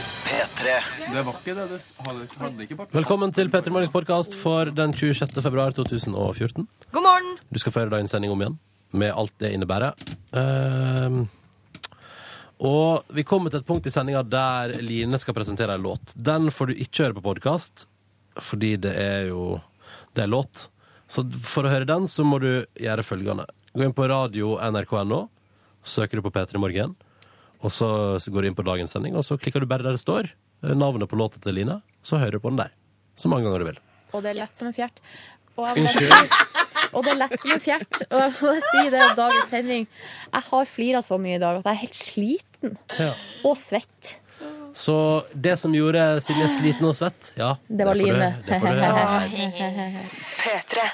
P3. Det var ikke det. Det hadde, hadde ikke vært Velkommen til Petter Morgens podkast for den 26. februar 2014. God morgen! Du skal få høre dagens sending om igjen, med alt det innebærer. Ehm, og vi kommer til et punkt i sendinga der Line skal presentere ei låt. Den får du ikke høre på podkast, fordi det er jo Det er låt. Så for å høre den, så må du gjøre følgende. Gå inn på radio nrk.no, søker du på P3 Morgen, og så så går du inn på dagens sending, og så klikker du bare der det står eh, navnet på låta til Line, så hører du på den der. Så mange ganger du vil. Og det er lett som en fjert. Og, jeg må bare Unnskyld. si- og det er lett som en fjert. Og jeg må si det om dagens sending. Jeg har flira så mye i dag at jeg er helt sliten. Ja. Og svett. Så det som gjorde Silje sliten og svett, ja Det var får du- Line. det får du høre. P3.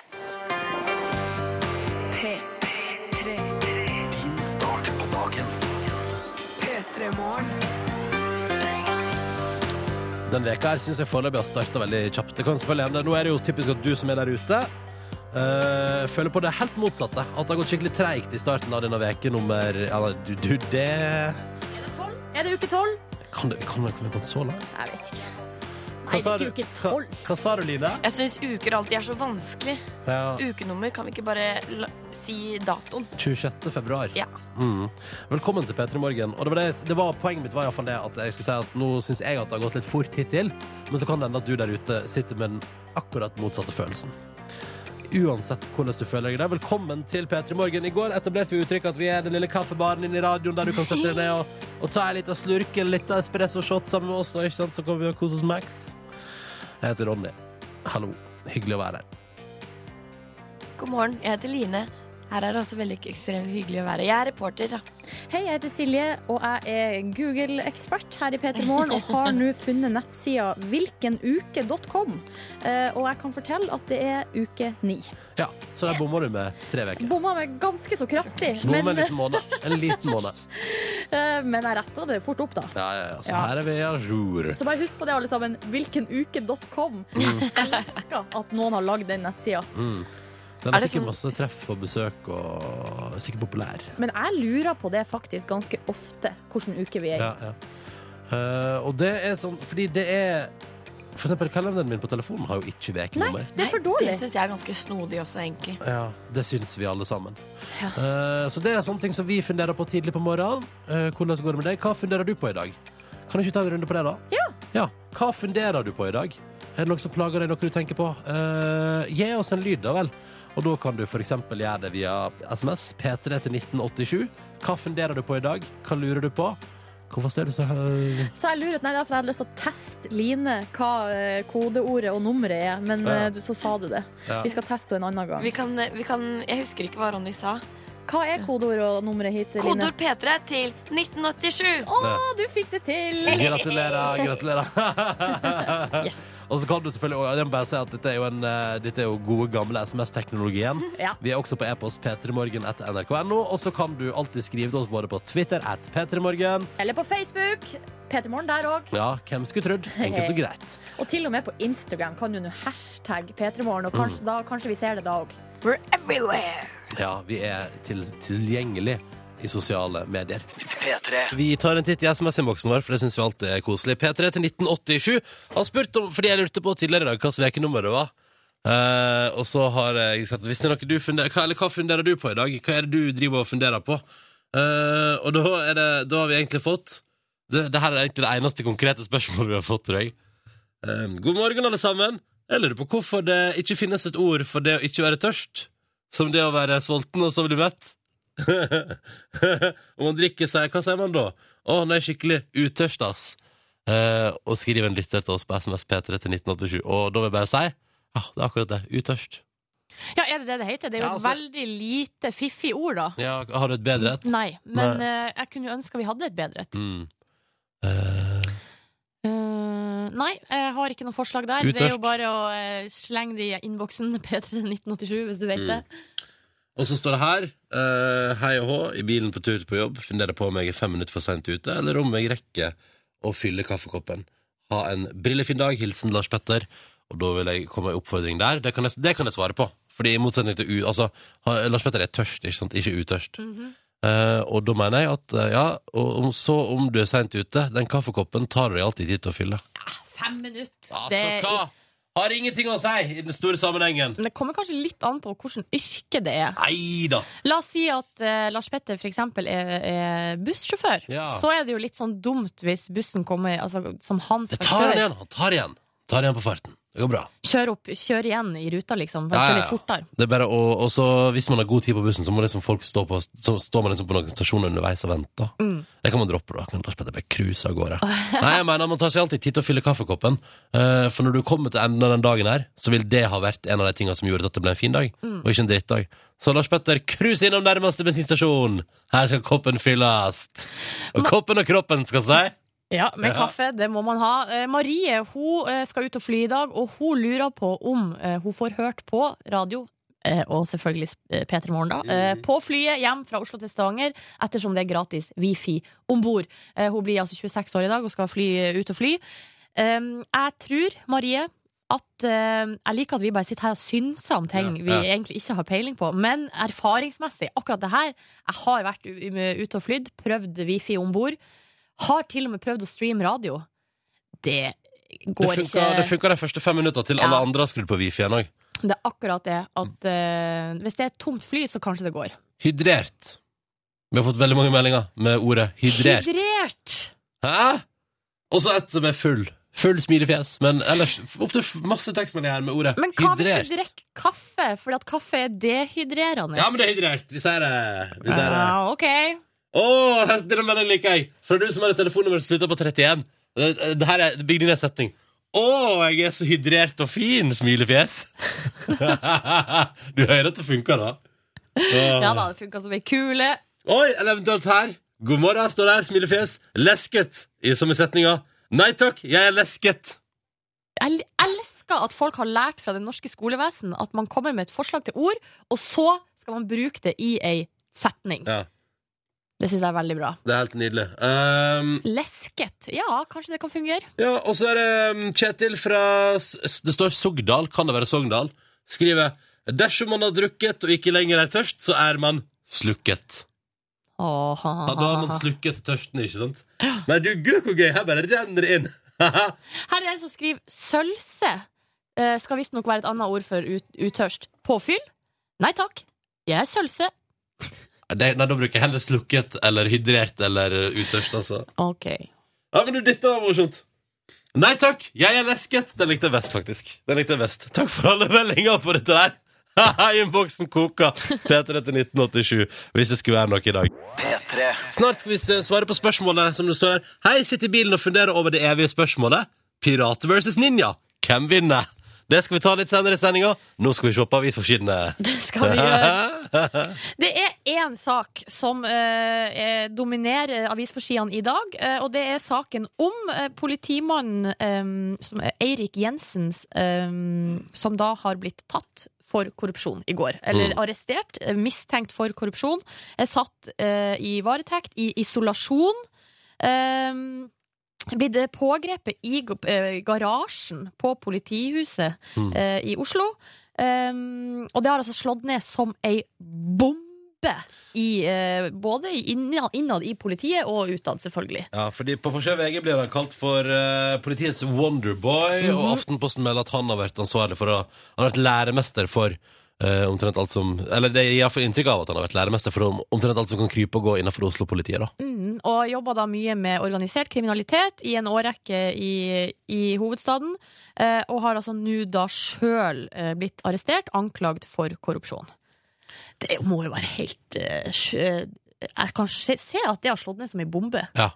Din start på dagen. Den veka her syns jeg foreløpig har starta veldig kjapt. Det kan selvfølgelig hende. Nå er det jo typisk at du som er der ute, eh, føler på det helt motsatte. At det har gått skikkelig treigt i starten av denne veke nummer ja, nei, du, du, det Er det uke tolv? Kan det kan det komme på en så langt? Jeg vet ikke. Hva sa det er du- ikke uke tolv. hva- Hva sa du, Line? Jeg syns uker alltid er så vanskelig. Ja, Ukenummer kan vi ikke bare la si datoen. 26. februar. Ja. Mm. Velkommen til P3 Morgen. Og det var det, det var, poenget mitt var i hvert fall det at jeg skulle si at nå syns jeg at det har gått litt fort hittil, men så kan det hende at du der ute sitter med den akkurat motsatte følelsen. Uansett hvordan du føler deg der, velkommen til P3 Morgen. I går etablerte vi uttrykket at vi er den lille kaffebaren inne i radioen der du kan sette deg ned og, og ta en liten slurk, en liten espresso-shot sammen med oss, da, ikke sant? så kommer vi og koser oss Max. Jeg heter Ronny. Hallo. Hyggelig å være her. God morgen, jeg heter Line. Her er det også veldig ekstremt hyggelig å være. Jeg er reporter, da. Hei, jeg heter Silje, og jeg er Google-ekspert her i P3 Morgen og har nå funnet nettsida hvilkenuke.com. Eh, Og jeg kan fortelle at det er uke ni. Ja, så der bommer du med tre uker. Bomma meg ganske så kraftig, Bommer men, en liten måned. En liten måned. eh, men jeg retta det fort opp, da. Ja, ja, ja. Så Ja. her er vi à jour. Så bare husk på det, alle sammen. Hvilkenuke.com. Elsker at noen har lagd den nettsida. Den er, Er det sikkert sånn- masse treff og besøk og er sikkert populær. Men jeg lurer på det faktisk ganske ofte, hvilken uke vi er i. Ja, ja. Eh, og det er sånn fordi det er For eksempel kalenderen min på telefonen har jo ikke Nei, ukenummer. det er for dårlig. Det syns jeg er ganske snodig også, egentlig. Ja, det syns vi alle sammen. Eh, så det er sånne ting som vi funderer på tidlig på morgenen. Eh, hvordan går det med deg? Hva funderer du på i dag? Kan ikke vi ta en runde på det, da? Ja. Hva funderer du på i dag? Er det noe som plager deg, noe du tenker på? Eh, gi oss en lyd, da vel. Og da kan du f.eks. gjøre det via SMS. P3 til 1987. Hva funderer du på i dag? Hva lurer du på? Hvorfor ser du så høy Så jeg lurer, nei, det er fordi jeg hadde lyst til å teste Line hva eh, kodeordet og nummeret er, men Ja. eh, du- så sa du det. Ja. Vi skal teste henne en annen gang. Vi kan, vi kan Jeg husker ikke hva Ronny sa. Hva er kodeord og nummeret hit, Line? Kodeord P3 til 1987. Å, du fikk det til! Gratulerer, gratulerer. Yes. Og så kan du selvfølgelig og jeg må bare si at dette er jo, en, eh, dette er jo gode gamle SMS-teknologien. Ja. Vi er også på e-post p3morgen etter nrk.no, og så kan du alltid skrive til oss både på Twitter at p3morgen. Eller på Facebook. Peter Morgen der òg. Ja, hvem skulle trodd? Enkelt og greit. Og til og med på Instagram kan du nå hashtag P3morgen, og kanskje, Mm. da, kanskje vi ser det da òg. We're everywhere. Ja, vi er til, tilgjengelig i sosiale medier. P3. Vi tar en titt i SMS-innboksen vår, for det syns vi alltid er koselig. P3 til 1987 har spurt om, fordi jeg lurte på tidligere i dag hvilket ukenummer det var. Eh, og så har jeg sagt hvis det er noe du funderer, hva, eller hva funderer du på i dag? Hva er det du driver og funderer på? Eh, og da, er det, da har vi egentlig fått det, det her er egentlig det eneste konkrete spørsmålet vi har fått, tror jeg. Eh, god morgen, alle sammen. Jeg lurer på hvorfor det ikke finnes et ord for det å ikke være tørst, som det å være sulten og så bli mett. Om man drikker seg, hva sier man da? Å, nå er jeg skikkelig utørst, ass. Eh, og skriv en lytter til oss på SMS P3 til 1987. Og da vil jeg bare si ja, det er akkurat det. Utørst. Ja, er det det det heter? Det er jo Ja, altså- et veldig lite fiffig ord, da. Ja, har du et bedre et? Nei, men eh, jeg kunne jo ønske vi hadde et bedre et. Mm. Eh, Eh, nei, jeg har ikke noe forslag der. Det er jo Utørst. bare å eh, slenge det i innboksen. P3 1987, hvis du vet Mm. det. og så står det her eh, Hei og hå, i bilen på tur på jobb. Funderer på om jeg er fem minutter for seint ute, eller om jeg rekker å fylle kaffekoppen. Ha en brillefin dag. Hilsen Lars Petter. Og da vil jeg komme med en oppfordring der. Det Mhm. kan jeg, det kan jeg svare på. Fordi i motsetning til u... Altså, ha- Lars Petter er tørst, ikke sant? Ikke utørst. Eh, og da mener jeg at eh, ja, og om, så om du er seint ute, den kaffekoppen tar det alltid tid til å fylle. Fem minutter. Altså, det, er- hva? Har ingenting å si i den store sammenhengen. Men det kommer kanskje litt an på hvilket yrke det er. Nei da. La oss si at eh, Lars Petter for eksempel er, er bussjåfør. Ja. Så er det jo litt sånn dumt hvis bussen kommer altså, som han Det skal tar han kjøre. igjen. Han tar igjen. Tar igjen på farten. Det går bra. Kjør opp, kjør igjen i ruta, liksom. Ja, Bare ja, kjør ja. litt fortere. Det er bare å, og så Hvis man har god tid på bussen, så må liksom folk stå på Så står man liksom på noen stasjoner underveis og venter. Mm. Det kan man droppe, da. Kan Lars Petter bare cruise av gårde. Nei, jeg mener Man tar seg alltid tid til å fylle kaffekoppen. Eh, For når du kommer til enden av den dagen her, så vil det ha vært en av de tingene som gjorde at det ble en fin dag, Mm. og ikke en drittdag. Så Lars Petter, cruise innom nærmeste bensinstasjon! Her skal koppen fylles! Og koppen og kroppen, skal jeg si. Ja, med Ja. kaffe, det må man ha. Eh, Marie hun eh, skal ut og fly i dag, og hun lurer på om eh, hun får hørt på radio, eh, og selvfølgelig eh, P3 Morgen, da, eh, Mm. på flyet hjem fra Oslo til Stavanger, ettersom det er gratis wifi om bord. Eh, hun blir altså 26 år i dag og skal fly, ut og fly. Eh, jeg tror, Marie at eh, Jeg liker at vi bare sitter her og synser om ting Ja, vi ja. egentlig ikke har peiling på. Men erfaringsmessig, akkurat det her Jeg har vært u- u- ute og flydd, prøvd wifi om bord. Har til og med prøvd å streame radio. Det Det går funka, ikke. det funka de første fem minutter til alle Ja. andre har skrudd på wifi en òg. Det er akkurat det at eh, hvis det er et tomt fly, så kanskje det går. Hydrert. Vi har fått veldig mange meldinger med ordet hydrert. Hydrert! Hæ? Og så et som er full. Full smilefjes. Men ellers opptil masse tekstmeldinger her med ordet Men hva hvis hydrert. du drikker kaffe? Fordi at kaffe er dehydrerende. Ja, men det er hydrert. Vi sier det. Vi sier det. Ja, ok. Å, her- denne meldingen liker jeg. Fra du som har et telefonnummer som slutter på 31. Det, det her er det bygger ned setning. Å, jeg er så hydrert og fin, smilefjes. du hører at det funker, da. Ja da, det funka som ei kule. Oi, eller eventuelt her. God morgen, står det her, smilefjes. Lesket, i som i setninga. Nei takk, jeg er lesket. Jeg elsker at folk har lært fra det norske skolevesen at man kommer med et forslag til ord, og så skal man bruke det i ei setning. Ja. Det syns jeg er veldig bra. Det er helt nydelig. Ehm, Lesket. Ja, kanskje det kan fungere. ja, og så er det um, Kjetil fra S- S- Det står Sogndal, kan det være Sogndal? Skriver Dersom man har drukket og ikke lenger er tørst, så er man slukket. Åh, ha, ha, Ja, da har man ha, ha. slukket tørsten, ikke sant? Nei, du, gud, hvor gøy! Her bare renner det inn. Haha. Her er en som skriver sølse. Eh, skal visstnok være et annet ord for ut, utørst. Påfyll? Nei takk. Jeg er sølse. Det- Nei, da bruker jeg heller slukket eller hydrert eller uh, utørst, altså. Ok. Ja, men du, dette var morsomt. Nei takk, jeg er lesket. Den likte jeg best, faktisk. Den likte jeg best. Takk for alle meldinger på dette der. Haha, Innboksen koker. P3 til 1987, hvis det skulle være noe i dag. P3 Snart skal vi s- svare på spørsmålet som det står her. Hei, sitt i bilen og fundere over det evige spørsmålet. Pirat versus ninja. Hvem vinner? Det skal vi ta litt senere i sendinga. Nå skal vi se på avisforsidene. Det skal vi gjøre. Det er én sak som eh, eh, dominerer avisforsidene i dag, eh, og det er saken om eh, politimannen eh, som er Eirik Jensens, eh, som da har blitt tatt for korrupsjon i går. Eller arrestert, eh, mistenkt for korrupsjon. Er satt eh, i varetekt, i isolasjon. Eh, blitt eh, pågrepet i g- eh, garasjen på politihuset eh, i Oslo. Um, og det har altså slått ned som ei bombe. I, eh, både innad, innad i politiet og utad, selvfølgelig. Ja, fordi På forsida av VG blir han kalt for eh, politiets Wonderboy, Mhm. og Aftenposten melder at han har vært ansvarlig for å Han har vært læremester for eh, omtrent alt som Eller det gir iallfall inntrykk av at han har vært læremester for om, omtrent alt som kan krype og gå innenfor Oslo-politiet. da Mm, og jobba da mye med organisert kriminalitet i en årrekke i, i hovedstaden. eh, og har altså nå da sjøl eh, blitt arrestert, anklagd for korrupsjon. Det må jo være helt eh, sjø- Jeg kan se, se at det har slått ned som ei bombe. Ja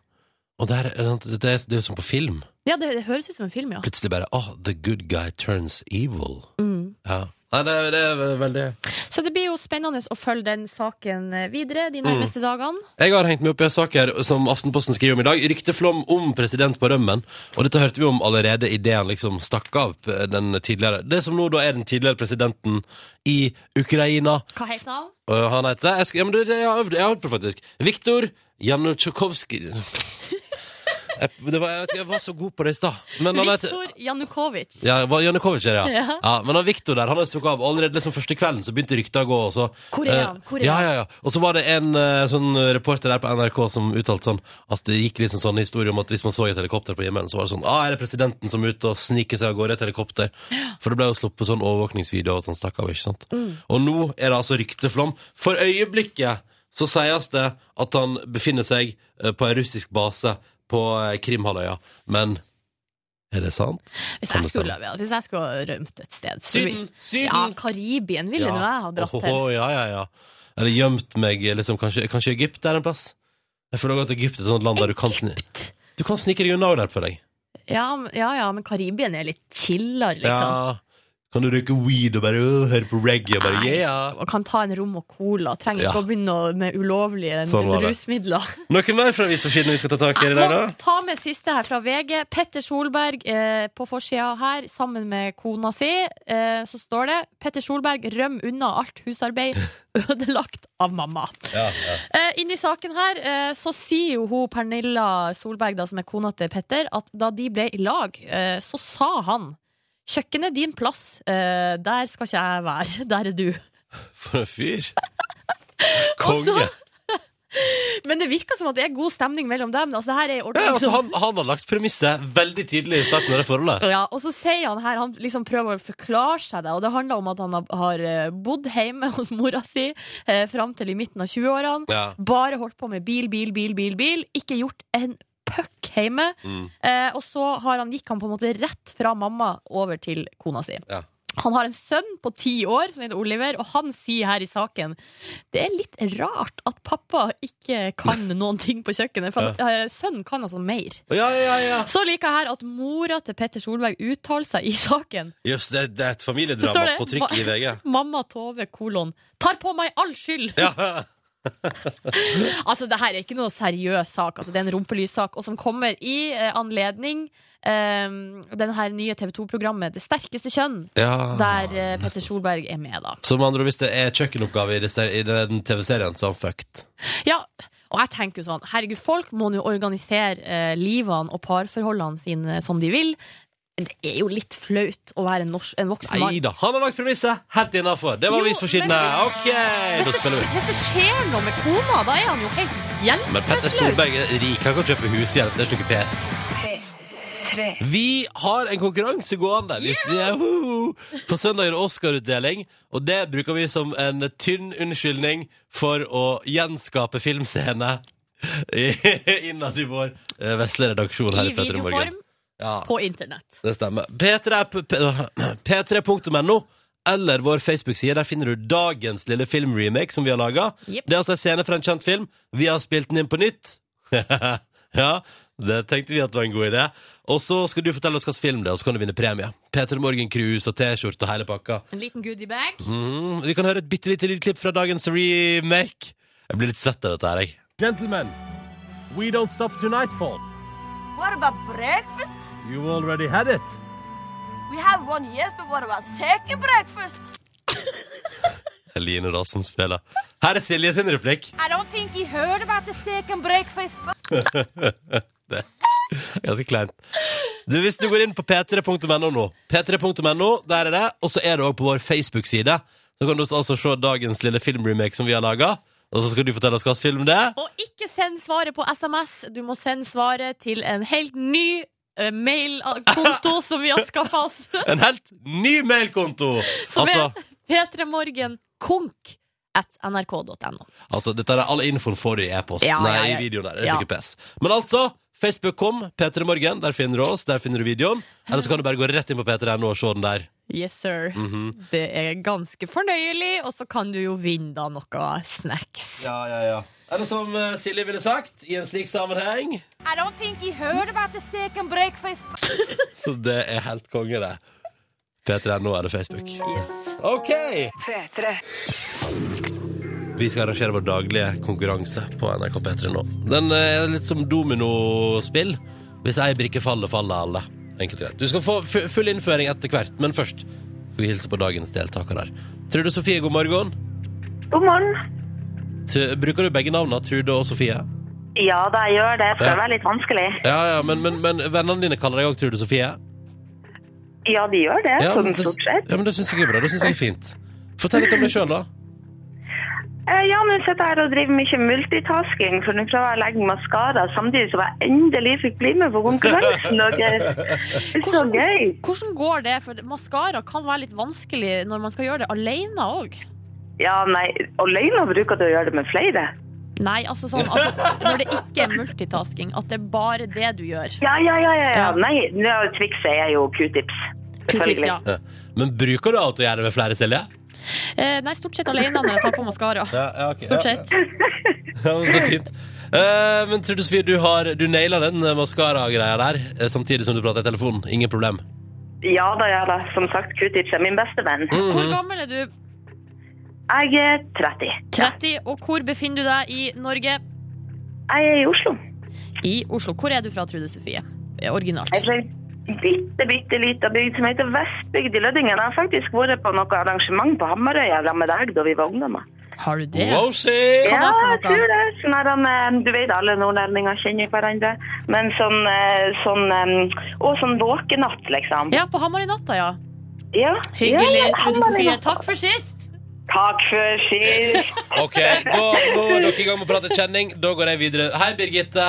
Og der, er eh, sant, det, er- det er jo som på film. Ja, det, det høres ut som en film, ja. Plutselig bare Ah, the good guy turns evil. Mm. Ja Nei, det, er- det er veldig Så det blir jo spennende å følge den saken eh, videre de nærmeste dagene. Jeg har hengt meg opp i saker som Aftenposten skriver om i dag. Rykteflom om president på rømmen. Og dette hørte vi om allerede idet han liksom stakk av p- den tidligere Det som nå da er den tidligere presidenten i Ukraina. Hva heter han? Øh, han heter jeg, skal, ja, men det, det, jeg har øvd- jeg har øvd på, det, faktisk. Viktor Janutsjkovskij Jeg, det var, jeg, vet ikke, jeg var så god på det i stad. Men han vet- Viktor Janukovic. Ja, var Janukovic her, ja. ja. Ja. Men han Viktor der, han har stukket av allerede liksom første kvelden, så begynte rykta å gå. Og så, Korea, eh, Korea. Ja, ja, ja. Og så var det en eh, sånn reporter der på NRK som uttalte sånn at det gikk liksom sånn historie om at hvis man så et helikopter på himmelen, så var det sånn ah, er det presidenten som er ute og sniker seg av gårde i et helikopter? For det ble jo sluppet sånn overvåkningsvideo av at han stakk av, ikke sant? Og nå er det altså rykteflom. For øyeblikket så sies det at han befinner seg eh, på en russisk base på eh, Krimhalvøya, men er det sant? Hvis Kan det jeg skulle, ja, hvis jeg skulle ha rømt et sted så vil- Syden! Syden! Ja, Karibien ville nå jeg ha dratt Åhåhå, til. ja, ja, ja. Eller gjemt meg liksom, kanskje, kanskje Egypt er en plass? Jeg føler også at Egypt er et sånt land der du kan, sni du kan snike deg unna der, føler jeg. Ja, men- ja, ja, men Karibien er litt chillere, liksom. Ja. Kan du røyke weed og bare øh, høre på reggae og bare Nei. yeah? Og kan ta en rom og cola. Trenger Ja. ikke å begynne å- med ulovlige Sånn var det. rusmidler. Noe mer fra avisforsiden vi skal ta tak i i dag, da? Og ta med siste her fra VG. Petter Solberg eh, på forsida her, sammen med kona si, eh, så står det 'Petter Solberg røm unna alt husarbeid, ødelagt av mamma'. Ja, ja. Eh, Inni saken her eh, så sier jo hun Pernilla Solberg, da, som er kona til Petter, at da de ble i lag, eh, så sa han 'Kjøkkenet din plass, eh, der skal ikke jeg være, der er du'. For en fyr. Og så- Konge. Men det virker som at det er god stemning mellom dem. Altså, det her er en ordentlig Ja, altså, han, han har lagt premisset veldig tydelig i starten av det forholdet. Ja, og så sier han her Han liksom prøver å forklare seg det Og det handler om at han har, har eh, bodd hjemme hos mora si eh, Frem til i midten av 20-årene Ja. Bare holdt på med bil, bil, bil, bil, bil Ikke gjort en pøkk hjemme Mm. eh, Og så har han, gikk han på en måte rett fra mamma over til kona si Ja. Han har en sønn på ti år som heter Oliver Og han sier her i saken Det er litt rart at pappa ikke kan noen ting på kjøkkenet For at, eh, sønnen kan altså mer Ja, ja, ja. så liker jeg her at mora til Petter Solberg uttaler seg i saken. Jøss, det, det er et Så står familiedrama det- på trykk i VG. Mamma Tove kolon tar på meg all skyld! Ja. Altså, det her er ikke noe seriøs sak. Altså, det er en rumpelyssak, og som kommer i eh, anledning eh, den her nye TV 2-programmet Det sterkeste kjønn, ja. der eh, Petter Solberg er med, da. Så med andre ord, hvis det er kjøkkenoppgave i, det, ser- i den TV-serien, så er han fucked. Ja, og jeg tenker jo sånn Herregud, folk må nå organisere eh, livene og parforholdene sine eh, som de vil. Men det er jo litt flaut å være en, norsk, en voksen mann. Nei da, han har lagt premisset helt innafor. Det var Jo, avisforsiden men- her. Ok, da Hvis det, spiller vi. hvis det skjer noe med kona, da er han jo helt Men Petter hjelpeløs. Solberg er rik, han kan kjøpe hushjelp. Det er ikke noe pes. Vi har en konkurranse gående hvis vi er woo! På søndag er det Oscar-utdeling, og det bruker vi som en tynn unnskyldning for å gjenskape filmscene i- innad i vår eh, vesle redaksjon her I i Petter Morgen. videoform Ja. på internett. Det stemmer. P3 p- p- P3.no eller vår Facebook-side. Der finner du dagens lille filmremake som vi har laga. Jep. Det er altså en scene fra en kjent film. Vi har spilt den inn på nytt. ja, det tenkte vi at var en god idé. Og så skal du fortelle oss hvilken film det er, og så kan du vinne premie. P3 Morgen-krus og T-skjorte og hele pakka. En liten goodiebag. Mm, vi kan høre et bitte lite lydklipp fra dagens remake. Jeg blir litt svett av dette her, jeg. Gentlemen, we don't stop to nightfall. What about breakfast? You already had it. We have one yes, but what about second breakfast? Eline da som spiller. Her er Silje sin replikk. I don't think he heard about the second breakfast. Det er ganske kleint. Du, Hvis du går inn på p3.no nå, p3.no, der er det, og så er det også på vår Facebook-side. Så kan du altså se dagens lille filmremake som vi har laga. Og så skal du fortelle oss hvilken film det er. Og ikke send svaret på SMS. Du må sende svaret til en helt ny eh, mailkonto som vi har skaffa oss. En helt ny mailkonto! Som Altså, er p3morgenkonk at nrk.no. altså, dette er all infoen får du i e-post. Ja, Nei, ja, ja. i videoen der. Det er Ja. ikke pes. Men altså, Facebook.com, P3 Morgen, der finner du oss, der finner du videoen. Eller så kan du bare gå rett inn på p3.no og se den der. Yes, sir. Det er ganske fornøyelig, og så kan du jo vinne da noe snacks. Ja, ja, ja. Eller som eh, Silje ville sagt, i en slik sammenheng I don't think he heard about the second breakfast. Så det er helt konge, det. P3, nå er det Facebook. OK! Vi skal arrangere vår daglige konkurranse på NRK P3 nå. Den eh, er litt som dominospill. Hvis ei brikke faller, faller alle. Enkelt og greit. Du skal få fu- full innføring etter hvert, men først skal vi hilse på dagens deltakere. Trude Sofie, god morgen. God morgen. T- Bruker du begge navnene, Trude og Sofie? Ja da, jeg gjør det. Jeg føler meg litt vanskelig. Ja, ja, men, men, men vennene dine kaller deg òg Trude Sofie? Ja, de gjør det, Ja, men sånn det, stort sett. ja, men det syns jeg er bra. Det synes jeg er fint. Fortell litt om deg sjøl, da. Eh, Ja, nå sitter jeg her og driver mye multitasking, for nå prøver jeg å legge maskara samtidig som jeg endelig fikk bli med på konkurransen. Og det er så Hvordan- gøy. Hvordan går det? For maskara kan være litt vanskelig når man skal gjøre det alene òg. Ja, nei, alene bruker du å gjøre det med flere. Nei, altså sånn altså, når det ikke er multitasking, at det er bare det du gjør. Ja, ja, ja. ja, ja. Ja. Nei, nå trikset er jo q-tips. Q-tips, ja. Ja. Men bruker du av og til å gjøre det med flere, Silje? Eh, nei, stort sett alene når jeg tar på maskara. Ja, ja, ok. Stort sett. Ja, men så fint. Eh, men Trude Sofie, du, har- du naila den eh, maskara-greia der eh, samtidig som du prater i telefonen. Ingen problem. Ja da, ja da. Som sagt, q-tips er min beste venn. Mhm. Hvor gammel er du? Jeg er 30. 30. Og hvor befinner du deg i Norge? Jeg er i Oslo. I Oslo. Hvor er du fra, Trude Sofie? Eh, Originalt. Jeg er fra en bitte, bitte lita bygd som heter Vestbygd i Lødingen. Jeg har faktisk vært på noe arrangement på Hamarøya sammen med deg da vi var ungdommer. Har du det? Wow, shit! Ja, Hva var jeg det for noe? tror det. Sånn her, han, eh, du vet alle nordlendinger kjenner hverandre. Men sånn, eh, sånn eh, Og sånn våkenatt, liksom. Ja, på Hamar i natta, ja. Ja. Hyggelig, Ja, ja, Trude Hamarøya. Sofie. Takk for sist! Takk for sist. Ok, da, Nå er dere i gang med å prate kjenning. Da går jeg videre. Hei, Birgitte.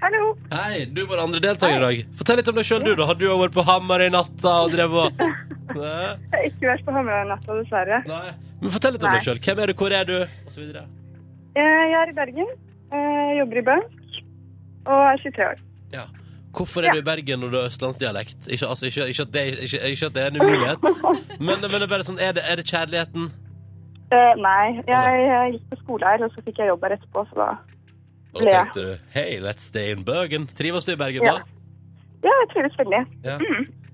Hallo. Hei, Du var andre deltaker i dag. Fortell litt om deg sjøl, du. da Har du vært på Hamar i natta og drevet og Nei. Jeg har ikke vært på Hamarøya natta, dessverre. Nei. Men fortell litt om deg sjøl. Hvem er du, hvor er du, og så videre. Eh, Jeg er i Bergen. Eh, Jobber i bank. Og er 23 år. Ja. Hvorfor er du i Bergen når du har østlandsdialekt? Ikke, altså, ikke, ikke, at det, ikke, ikke at det er en umulighet, men, men det er bare sånn, er det, er det kjærligheten? Eh, nei, jeg, gikk på skole her, og så fikk jeg jobb her etterpå, så da Og da tenkte du Hei, let's stay in Bergen. Trives du i Bergen, da? Ja, jeg trives veldig. Ja.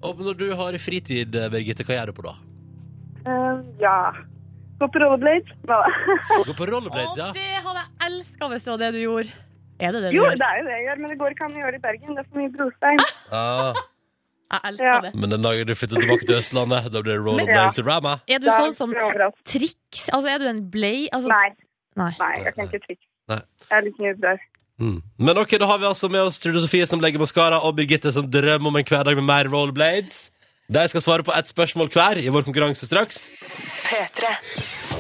Og når du har fritid, Birgitte, hva gjør du på da? Eh, ja. Gå på rollerblades? Hva da? Gå på rollerblades, ja? Å, det hadde jeg elska hvis det var det du gjorde. Er det det du Jo, gjør? det er jo det jeg gjør, men det går ikke an å gjøre i Bergen. Det er for mye brostein. Ah, Jeg elsker Ja. det. men den dagen du flytter tilbake til Østlandet, da blir det rollerblades i Rama? Er du Det er sånn som ikke overalt. triks? Altså, er du en blei? Altså, Nei, Nei. nei, jeg kan ikke triks. Nei. Jeg er litt newbie. Mm. Men ok, da har vi altså med oss Trude Sofie som legger maskara, og Birgitte som drømmer om en hverdag med mer rollerblades. De skal svare på ett spørsmål hver i vår konkurranse straks. P3.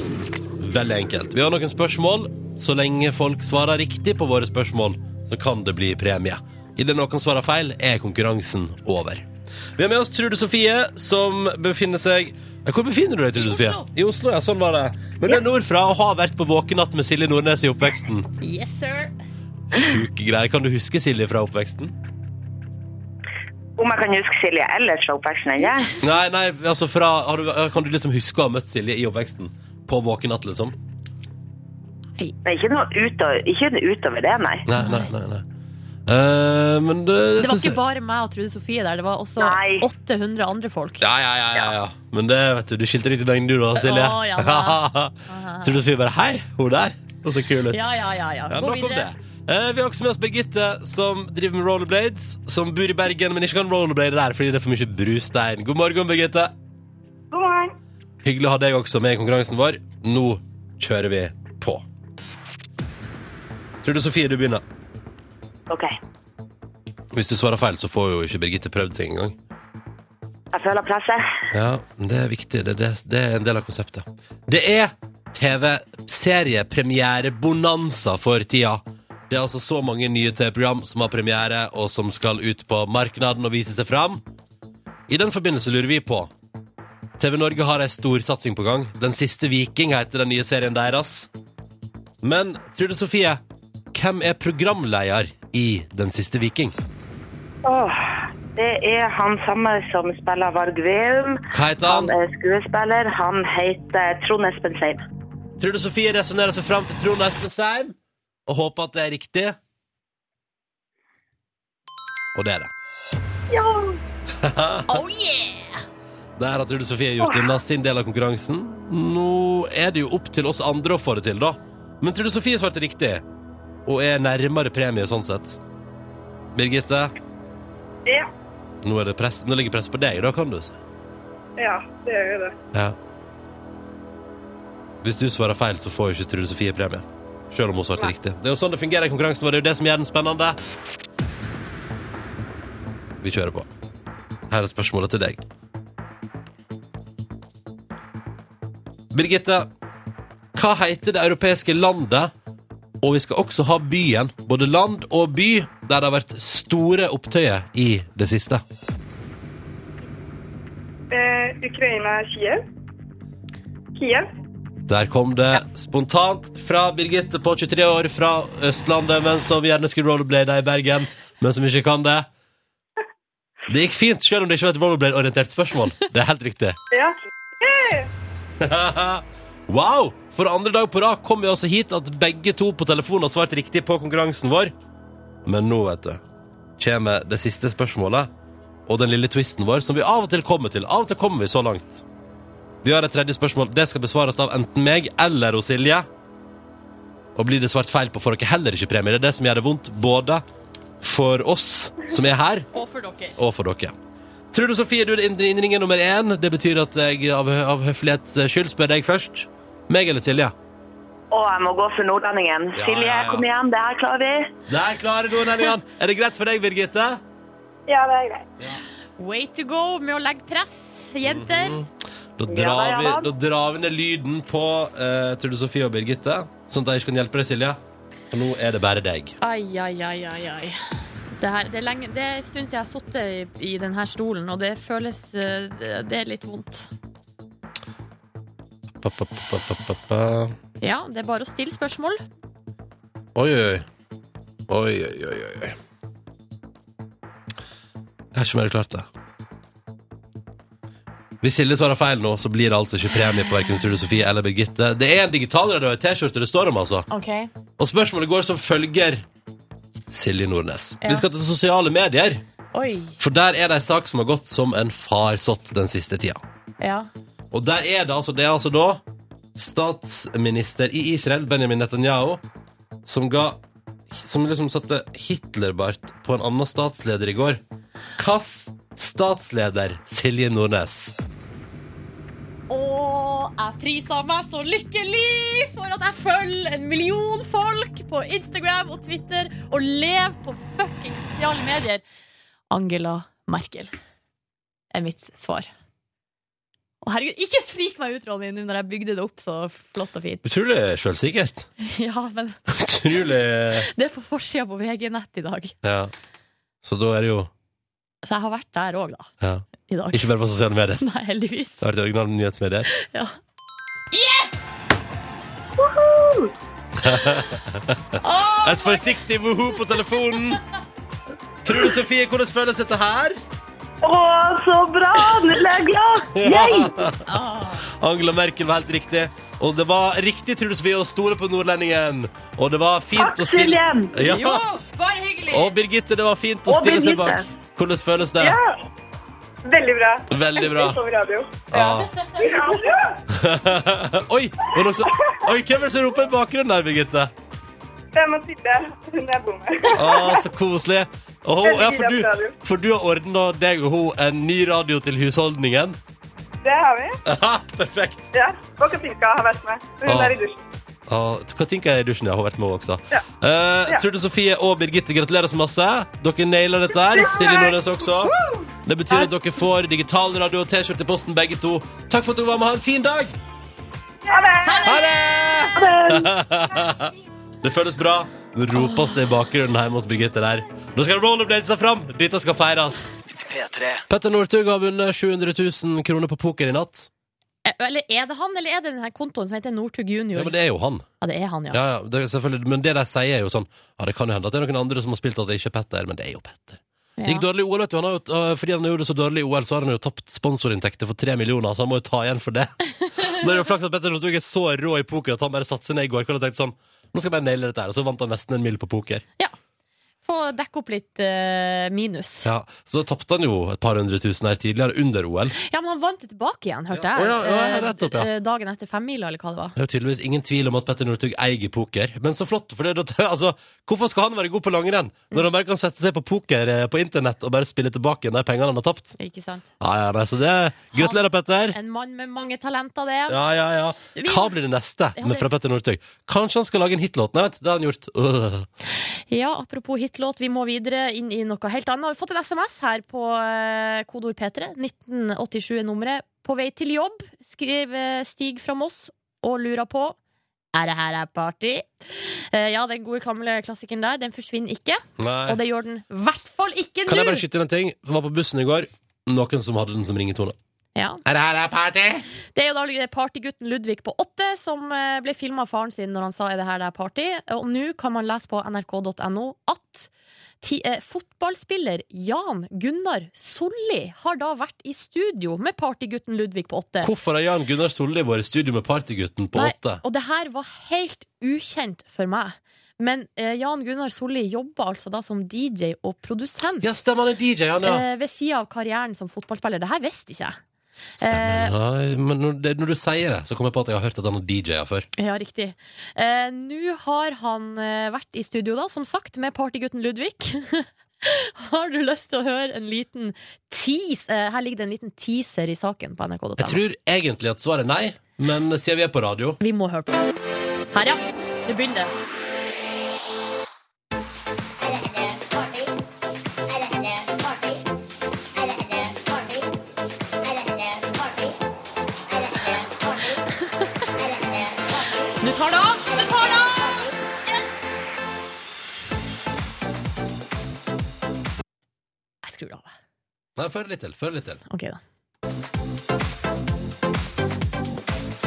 Veldig enkelt. Vi har noen spørsmål. Så lenge folk svarer riktig på våre spørsmål, så kan det bli premie. Idet noen svarer feil, er konkurransen over. Vi har med oss Trude Sofie, som befinner seg Ja, Hvor befinner du deg, Trude Sofie? I Oslo, ja. Sånn var det. Men du er nordfra og har vært på våkenatt med Silje Nordnes i oppveksten. Yes, sir. Sjuke greier. Kan du huske Silje fra oppveksten? Om jeg kan huske Silje ellers fra oppveksten enn jeg? Nei, nei, altså fra har du, Kan du liksom huske å ha møtt Silje i oppveksten? På våkenatt, liksom? Nei, ikke noe utover, ikke noe utover det, nei. Nei, nei, nei. nei. Eh, men det, Det var synes jeg- ikke bare meg og Trude Sofie der, det var også Nei. 800 andre folk. Ja, ja, ja, ja, ja. Men det, vet du, du skilte deg ut i lengden, du da, Silje. Å, ja da. Tror du Sofie bare Hei, hun der. Og så kul ut. Ja, ja, ja. ja. Ja, Gå nok om det. videre. Eh, vi har også med oss Birgitte, som driver med rollerblades. Som bor i Bergen, men ikke kan rollerblade der fordi det er for mye brustein. God morgen, Birgitte. God morgen. Hyggelig å ha deg også med i konkurransen vår. Nå kjører vi på. Tror du Sofie du begynner? OK. Hvis du svarer feil, så får jo ikke Birgitte prøvd seg engang. Jeg føler presset. Ja, men det er viktig. Det, det, det er en del av konseptet. Det er TV-seriepremierebonanza for tida. Det er altså så mange nye TV-program som har premiere, og som skal ut på markedet og vise seg fram. I den forbindelse lurer vi på TV Norge har ei stor satsing på gang. Den siste viking heter den nye serien deres. Men Trude Sofie, hvem er programleder i Den siste viking? Åh, det er han samme som spiller Varg Veum. Hva heter Han han? er skuespiller. Han heter Trond Espen Seim. Trude Sofie resonnerer seg fram til Trond Espen Seim og håper at det er riktig. Og det er det. Oh yeah! Der har Trude Sofie gjort unna sin del av konkurransen. Nå er det jo opp til oss andre å få det til, da. Men Trude Sofie svarte riktig, og er nærmere premie sånn sett. Birgitte, Ja. nå, er det press. nå ligger press på deg, da, kan du si. Ja, det gjør jo det. Ja. Hvis du svarer feil, så får jo ikke Trude Sofie premie. Selv om hun svarte riktig. Det er jo sånn det fungerer i konkurransen vår. Det er jo det som gjør den spennende. Vi kjører på. Her er spørsmålet til deg. Birgitte, hva heter det europeiske landet? Og vi skal også ha byen, både land og by, der det har vært store opptøyer i det siste. Eh, Ukraina, Kiev. Kiev. Der kom det spontant fra Birgitte på 23 år fra Østlandet, men som gjerne skulle rollerblade i Bergen, men som ikke kan det. Det gikk fint, selv om det ikke var et rollerblade-orientert spørsmål. Det er helt riktig. Ja. wow! For andre dag på rad kom vi altså hit at begge to på telefonen har svart riktig på konkurransen vår. Men nå, vet du, kommer det siste spørsmålet og den lille twisten vår, som vi av og til kommer til. Av og til kommer vi så langt. Vi har et tredje spørsmål. Det skal besvares av enten meg eller hos Silje. Og blir det svart feil på, får dere heller ikke premie. Det er det som gjør det vondt, både for oss som er her, Og for dere. og for dere. Trude Sofie, du er inn- innringer nummer én. Det betyr at jeg av, av høflighets skyld spør deg først. Meg eller Silje? Å, jeg må gå for nordlendingen. Ja, Silje, ja, ja. kom igjen, det her klarer vi. Der klarer du den igjen. Er det greit for deg, Birgitte? Ja, det er greit. Way to go med å legge press, jenter. Mhm. Da Ja da, drar, ja vi, da. da drar vi ned lyden på eh, Trude Sofie og Birgitte, sånn at jeg ikke kan hjelpe deg, Silje. For nå er det bare deg. Ai, ai, ai, ai, ai. Det, her, det, er lenge, det syns jeg har sittet i, i denne stolen, og det føles eh, Det det er litt vondt. Pa, pa, pa, pa, pa, pa. Ja, det er bare å stille spørsmål. Oi, oi. Oi, oi, oi, oi, oi. Jeg har ikke mer klart det. Hvis Silje svarer feil nå, så blir det altså ikke premie på hverken Trude Sofie eller Birgitte. Det er en digitalradio og en T-skjorte det står om, altså. Og spørsmålet går som følger Silje Nordnes. Vi skal til sosiale medier, Oi. for der er det ei sak som har gått som en farsott den siste tida. Ja. Og der er det altså, det er altså da statsminister i Israel, Benjamin Netanyahu, som ga Som liksom satte Hitlerbart på en annen statsleder i går. Hvilken statsleder Silje Nordnes? Å, jeg priser meg så lykkelig for at jeg følger en million folk på Instagram og Twitter og lever på fuckings sosiale medier. Angela Merkel er mitt svar. Å, herregud, ikke sprik meg ut, Ronny, nå når jeg bygde det opp så flott og fint. Utrolig sjølsikkert. Ja, men Utrolig det er på forsida på VG-nett i dag. Ja. Så da er det jo Så jeg har vært der òg, da. ja. I dag. Ikke bare på sosiale medier. Nei, heldigvis. Det har vært originale nyhetsmedier. Ja. Et forsiktig woho på telefonen. Trude Sofie, hvordan føles dette her? Å, så bra! Nå er jeg glad! Yay! Ah. Angela Merkel var helt riktig. Og det var riktig, Trude Sofie, å stole på nordlendingen. Og det var fint Takk, å stille Silje. Ja. bare hyggelig! Og Birgitte, det var fint å Og stille seg Birgitte. bak. Hvordan føles det? Ja. Ah. Veldig bra. Veldig bra. Som radio. Ah. Ja. Oi, var det også... Oi, hvem er det som roper i bakgrunnen der, Birgitte? Det er Mathilde. Hun er bonde. Ah, så koselig. Og hun, Veldig ja, for, gira på du, radio. for du har ordna deg og hun en ny radio til husholdningen. Det har vi. Aha, perfekt. Ja. Og Katinka har vært med. Hun Ah. er i dusjen. Ah, Katinka er i dusjen, ja. Hun har vært med hun også. Ja. Eh, Ja. Trude Sofie og Birgitte, gratulerer så masse. Dere nailer dette her. Silje Nordnes også. Det betyr at dere får digital radio og T-skjorte i posten, begge to. Takk for at dere var med. Ha en fin dag! Ha det! Ha det! Det føles bra. Nå ropes det i bakgrunnen hjemme hos Birgitte der. Nå skal rollerbladesa fram! Dette skal feires. P3. Petter Northug har vunnet 700 000 kroner på poker i natt. Eh, Eller er det han, eller er det den her kontoen som heter Northug Junior? Ja, Ja, men det... det er jo han. er han, ja. Ja, ja, det er selvfølgelig. Men det de sier, er jo sånn Ja, det kan jo hende at det er noen andre som har spilt at det ikke er Petter, men det er jo Petter. Det gikk dårlig i OL, vet du. Han har jo, øh, fordi han gjorde det så dårlig i OL, så har han jo tapt sponsorinntekter for tre millioner, så han må jo ta igjen for det. Nå er det jo flaks at Petter Northug er så rå i poker at han bare satte seg ned i går kveld og tenkte sånn Nå skal jeg bare naile dette her, og så vant han nesten en mil på poker. Ja. Få dekke opp litt eh, minus. Ja. Ja, så da tapte han jo et par hundre tusen her tidligere under OL. men han vant det tilbake igjen, hørte Ja. jeg. Å, ja, ja, rett opp, ja. Eh, Dagen etter femmila, eller hva det var. Det er jo tydeligvis ingen tvil om at Petter Northug eier poker. Men så flott, for det, er da- altså, hvorfor skal han være god på langrenn når han bare kan sette seg på poker eh, på internett og bare spille tilbake de pengene han har tapt? Ikke sant? Ja, ja, nei, så det Gratulerer, Petter! En mann med mange talenter, det. Ja, ja, ja. Hva blir det neste Ja, med det- fra Petter Northug? Kanskje han skal lage en hitlåt? Nei, vent, det har han gjort. Øh. Ja, apropos hitlåt, vi må videre inn i noe helt annet. Vi har fått en SMS her på eh, kodeord P3. 1987 er nummeret. På vei til jobb, skriver Stig fra Moss og lurer på Er det her er party? Eh, Ja, den gode gamle klassikeren der, den forsvinner ikke. Og Nei. det gjør den i hvert fall ikke Kan jeg nå! bare skyte inn en ting? Jeg var på bussen i går. Noen som hadde den som ringetone. Ja. Er det her er party? Det er jo da partygutten Ludvig på åtte som eh, ble filma av faren sin når han sa 'er det her det er party'? Og nå kan man lese på nrk.no at ti, eh, fotballspiller Jan Gunnar Solli har da vært i studio med partygutten Ludvig på åtte. Hvorfor har Jan Gunnar Solli vært i studio med Partygutten på Nei, åtte? Og det her var helt ukjent for meg. Men eh, Jan Gunnar Solli jobber altså da som DJ og produsent. Ja, stemmer, han er DJ, han, ja. eh, Ved sida av karrieren som fotballspiller. Det her visste ikke jeg. Eh, Nei, men når, det, når du sier det, så kommer jeg på at jeg har hørt at han har DJ-a før. Ja, riktig. Eh, Nå har han eh, vært i studio, da, som sagt, med partygutten Ludvig. har du lyst til å høre en liten tease? Eh, her ligger det en liten teaser i saken på nrk.no. Jeg tror egentlig at svaret er nei, men siden vi er på radio Vi må høre på. Her, ja. Det begynner. Nå tar det av! Nå tar det av! Jeg skrur det av. Nei, før litt til. Før litt til. Ok, da.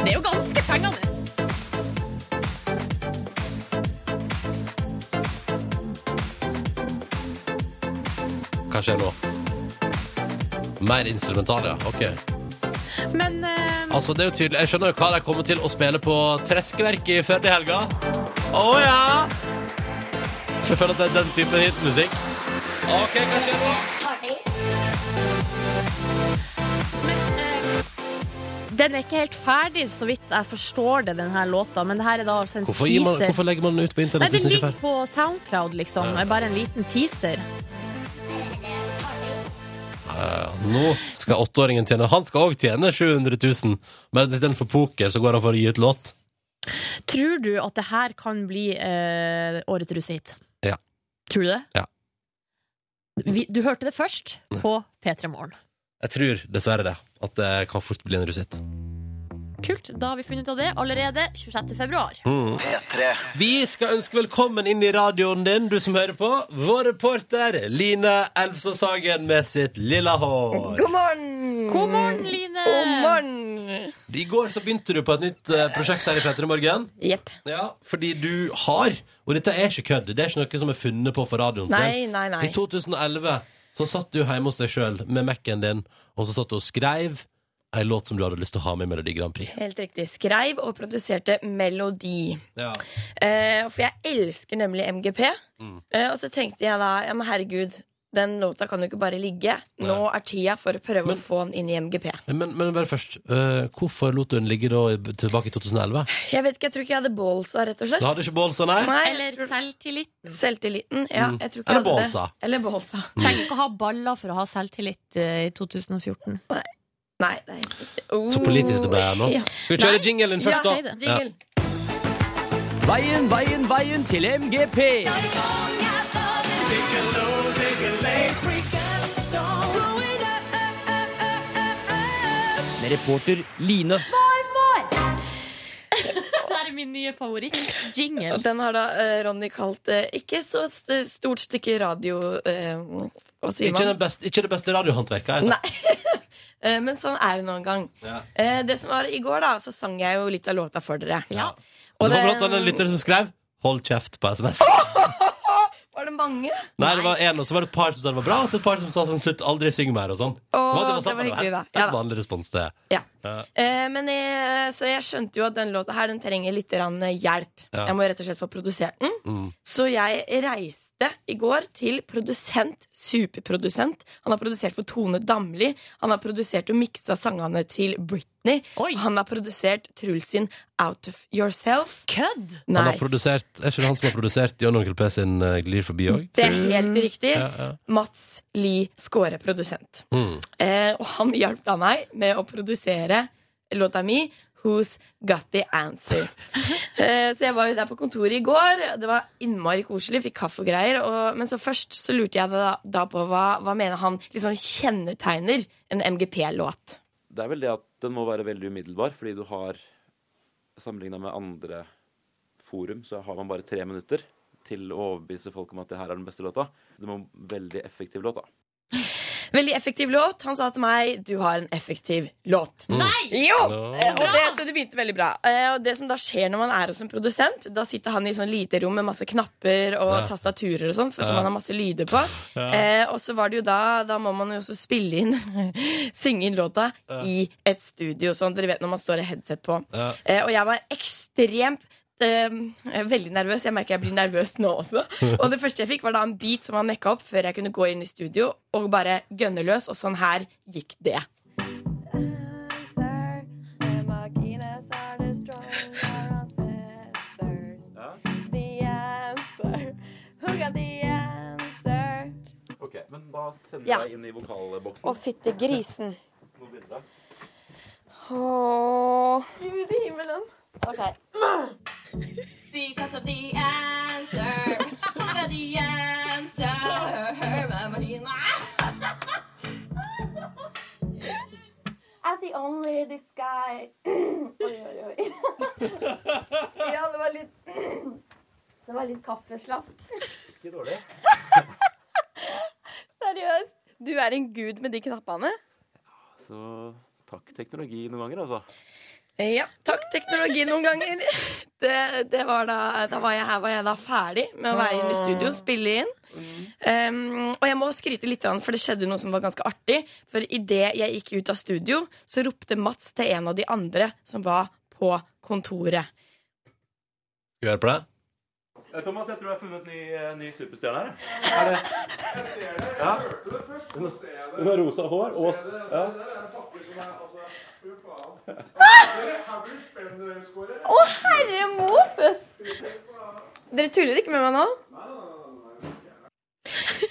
Det er jo ganske fengende. Hva skjer nå? Mer instrumental, ja. Ok. Men eh, Altså, det er jo tydelig. Jeg skjønner jo hva de kommer til å spille på Treskeverket i Førde i helga. Å ja! For jeg føler at det er den typen hitmusikk. OK, hva skjer nå? den er ikke helt ferdig, så vidt jeg forstår det, den her låta. Men det her er da altså en Hvorfor, gir teaser. man, hvorfor legger man den ut på Nei, internett den hvis den ikke ligger er ferdig? på Soundcloud, liksom. Ja. Bare en liten teaser. Nå skal åtteåringen tjene Han skal òg tjene 700 000, men istedenfor poker så går han for å gi ut låt. Tror du at det her kan bli eh, årets russehit? Ja. Tror du det? Ja. Vi, du hørte det først på P3 Morgen. Jeg tror dessverre det. At det kan fort bli en russitt. Kult. Da har vi funnet ut av det allerede 26. februar. P3. Vi skal ønske velkommen inn i radioen din, du som hører på, vår reporter Line Elvsås Hagen med sitt lilla hår. God morgen! God morgen, Line! God morgen! I går så begynte du på et nytt eh, prosjekt her i Petter i morgen. Jepp. Ja, fordi du har, og dette er ikke kødd, det er ikke noe som er funnet på for radioen Nei, nei, nei. I 2011 så satt du hjemme hos deg sjøl med Mac-en din, og så satt du og skreiv ei låt som du hadde lyst til å ha med i Melodi Grand Prix. Helt riktig. Skreiv og produserte melodi. Ja. Eh, for jeg elsker nemlig MGP. Mm. Eh, og så tenkte jeg da ja, men herregud, den låta kan jo ikke bare ligge. Nå er tida for å prøve å få den inn i MGP. Men, men bare først, eh, hvorfor lot du den ligge da i- tilbake i 2011? Jeg vet ikke, jeg tror ikke jeg hadde ballsa, rett og slett. Du hadde ikke bålsa, nei? Nei, jeg Eller tror- selvtilliten. Selvtilliten. Ja, jeg tror ikke jeg hadde Mm. Eller det. ballsa. Eller ballsa. Trenger ikke å ha baller for å ha selvtillit eh, i 2014. Nei, nei. Oh. Så politisk det ble her nå. Ja. Skal vi kjøre jinglen først, ja, da? jingle. Veien, veien, veien til MGP. Med reporter Line. Det er min nye favoritt-jingle. Og Den har da eh, Ronny kalt eh, ikke så st stort stykke radio eh, Hva sier Ikke, man? den beste, ikke det beste radiohåndverket. Altså. Nei. Eh, Men sånn er det noen gang. Ja. Eh, Det som var i går, da, så sang jeg jo litt av låta for dere. Ja. Og Det var det- blant annet en lytter som skrev 'hold kjeft' på SMS. Var det mange? Nei, det var en, og så var det et par som sa det var bra, og så et par som sa sånn 'slutt, aldri syng mer' og sånn. Å, Men det var hyggelig, da. helt Ja da. vanlig respons til Ja. Ja. Eh, men jeg, så jeg skjønte jo at den låta her Den trenger litt grann eh, hjelp. Ja. Jeg må rett og slett få produsert den. Mm. Så jeg reiste i går til produsent, superprodusent. Han har produsert for Tone Damli. Han har produsert og miksa sangene til Britney. Oi. Han har produsert Truls sin Out of Yourself. Kødd! Nei, Han har produsert, Er ikke det han som har produsert John Onkel P sin eh, Glir forbi òg? det er helt riktig. Mm. Ja, ja. Mats Lie Skåre, produsent. Mm. Eh, og han hjalp da meg med å produsere låta mi. Who's Got The Answer? eh, så jeg var jo der på kontoret i går. Det var innmari koselig. Fikk kaffe og greier. Og, men så først så lurte jeg da, da på hva, hva mener han liksom kjennetegner en MGP-låt. Det er vel det at den må være veldig umiddelbar, fordi du har Sammenligna med andre forum, så har man bare tre minutter til å overbevise folk om at det her er den beste låta. Det må veldig effektiv låt, da. Veldig effektiv låt. Han sa til meg 'du har en effektiv låt'. Mm. Nei! Jo! Ja. Eh, Og det, så det begynte veldig bra. Eh, Og det som da skjer når man er hos en produsent, da sitter han i sånn lite rom med masse knapper og Ja. tastaturer og sånn, for- som Ja. han har masse lyder på. Eh, og så var det jo da Da må man jo også spille inn synge inn låta i et studio, sånn dere vet når man står i headset på. Ja. Eh, og jeg var ekstremt eh, veldig nervøs. Jeg merker jeg blir nervøs nå også. Og det første jeg fikk, var da en beat som han mekka opp før jeg kunne gå inn i studio og bare gønne løs. Og sånn her gikk det. Ok, Men da sender Ja. jeg inn i vokalboksen. Å, fytte grisen. Noen bilder. Åh. Gud i himmelen. Ok. Because of the answer. the answer. I see only the sky. oi, oi, oi. ja, det var litt Det var litt kaffeslask. Ikke dårlig. Seriøst. Du er en gud med de knappene. Så takk teknologi noen ganger, altså. Ja, takk teknologi noen ganger. Det, det var da, da var jeg, her var jeg da ferdig med å være inne i studio og spille inn. Um, og jeg må skryte litt, grann, for det skjedde noe som var ganske artig. For idet jeg gikk ut av studio, så ropte Mats til en av de andre som var på kontoret. Skal vi høre på det? Eh, Thomas, jeg tror jeg har funnet en ny, eh, ny superstjerne her. Er det? Jeg ser det. Jeg hørte det først. Hun har rosa hår. Og, ja. Å, herre Moses! Dere tuller ikke med meg nå?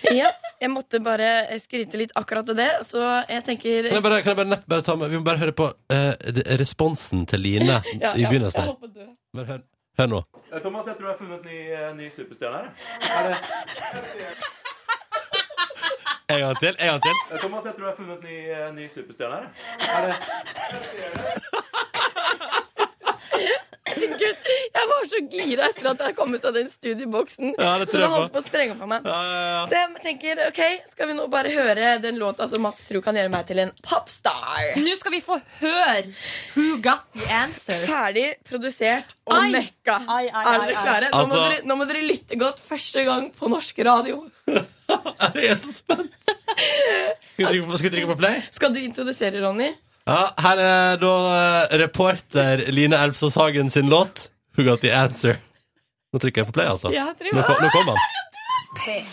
Ja, jeg måtte bare skryte litt akkurat av det, så jeg tenker Kan jeg bare, kan jeg bare, nett, bare ta med, vi må bare høre på eh, de- responsen til Line Ja, i ja, begynnelsen. jeg her. håper du- Bare hør, hør nå. Eh, Thomas, jeg tror jeg har funnet en ny, eh, ny superstjerne her. En gang til, en gang til. Eh, Thomas, jeg tror jeg har funnet en ny, eh, ny superstjerne her. Gud, jeg var så gira etter at jeg kom ut av den studieboksen. Ja, det tror så det jeg holdt på. på å sprenge for meg. Ja, ja, ja. Så jeg tenker, ok, skal vi nå bare høre den låta som Mats tror kan gjøre meg til en popstar? Nå skal vi få høre Who got the answer? Ferdig produsert og Ai. mekka. Ai, ai, Er dere ai, ai. klare? Nå, må Altså- dere, nå må dere lytte godt første gang på norsk radio. Jeg er så spent. Skal vi trykke på, skal vi trykke på play? Skal du introdusere, Ronny? Ja, her er da eh, reporter Line Elvsås Hagen sin låt 'Who Got The Answer'. Nå trykker jeg på play, altså. Ja, Nå, Trine. kom- nå kom han. God,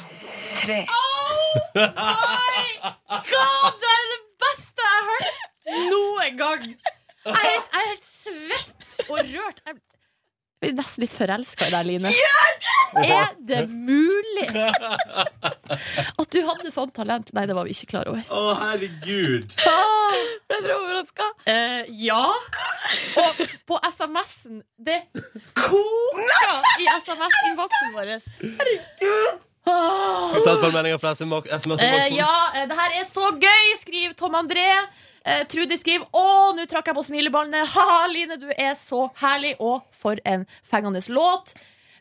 det er det beste jeg har hørt noen gang! Jeg er helt, jeg er helt svett og rørt. Jeg blir nesten litt forelska i deg, Line. Er det mulig at du hadde sånt talent? Nei, det var vi ikke klar over. Å, herregud. Ble dere overraska? Eh, ja. Og på SMS-en Det koker i SMS-innboksen vår. Ah. Herregud. Skal vi ta et par meldinger fra SMS-boksen? Eh, ja, eh, det her er så gøy, skriver Tom André. Eh, Trude skriver Å, nå trakk jeg på smilebåndet. Ha, Line, du er så herlig. Og for en fengende låt.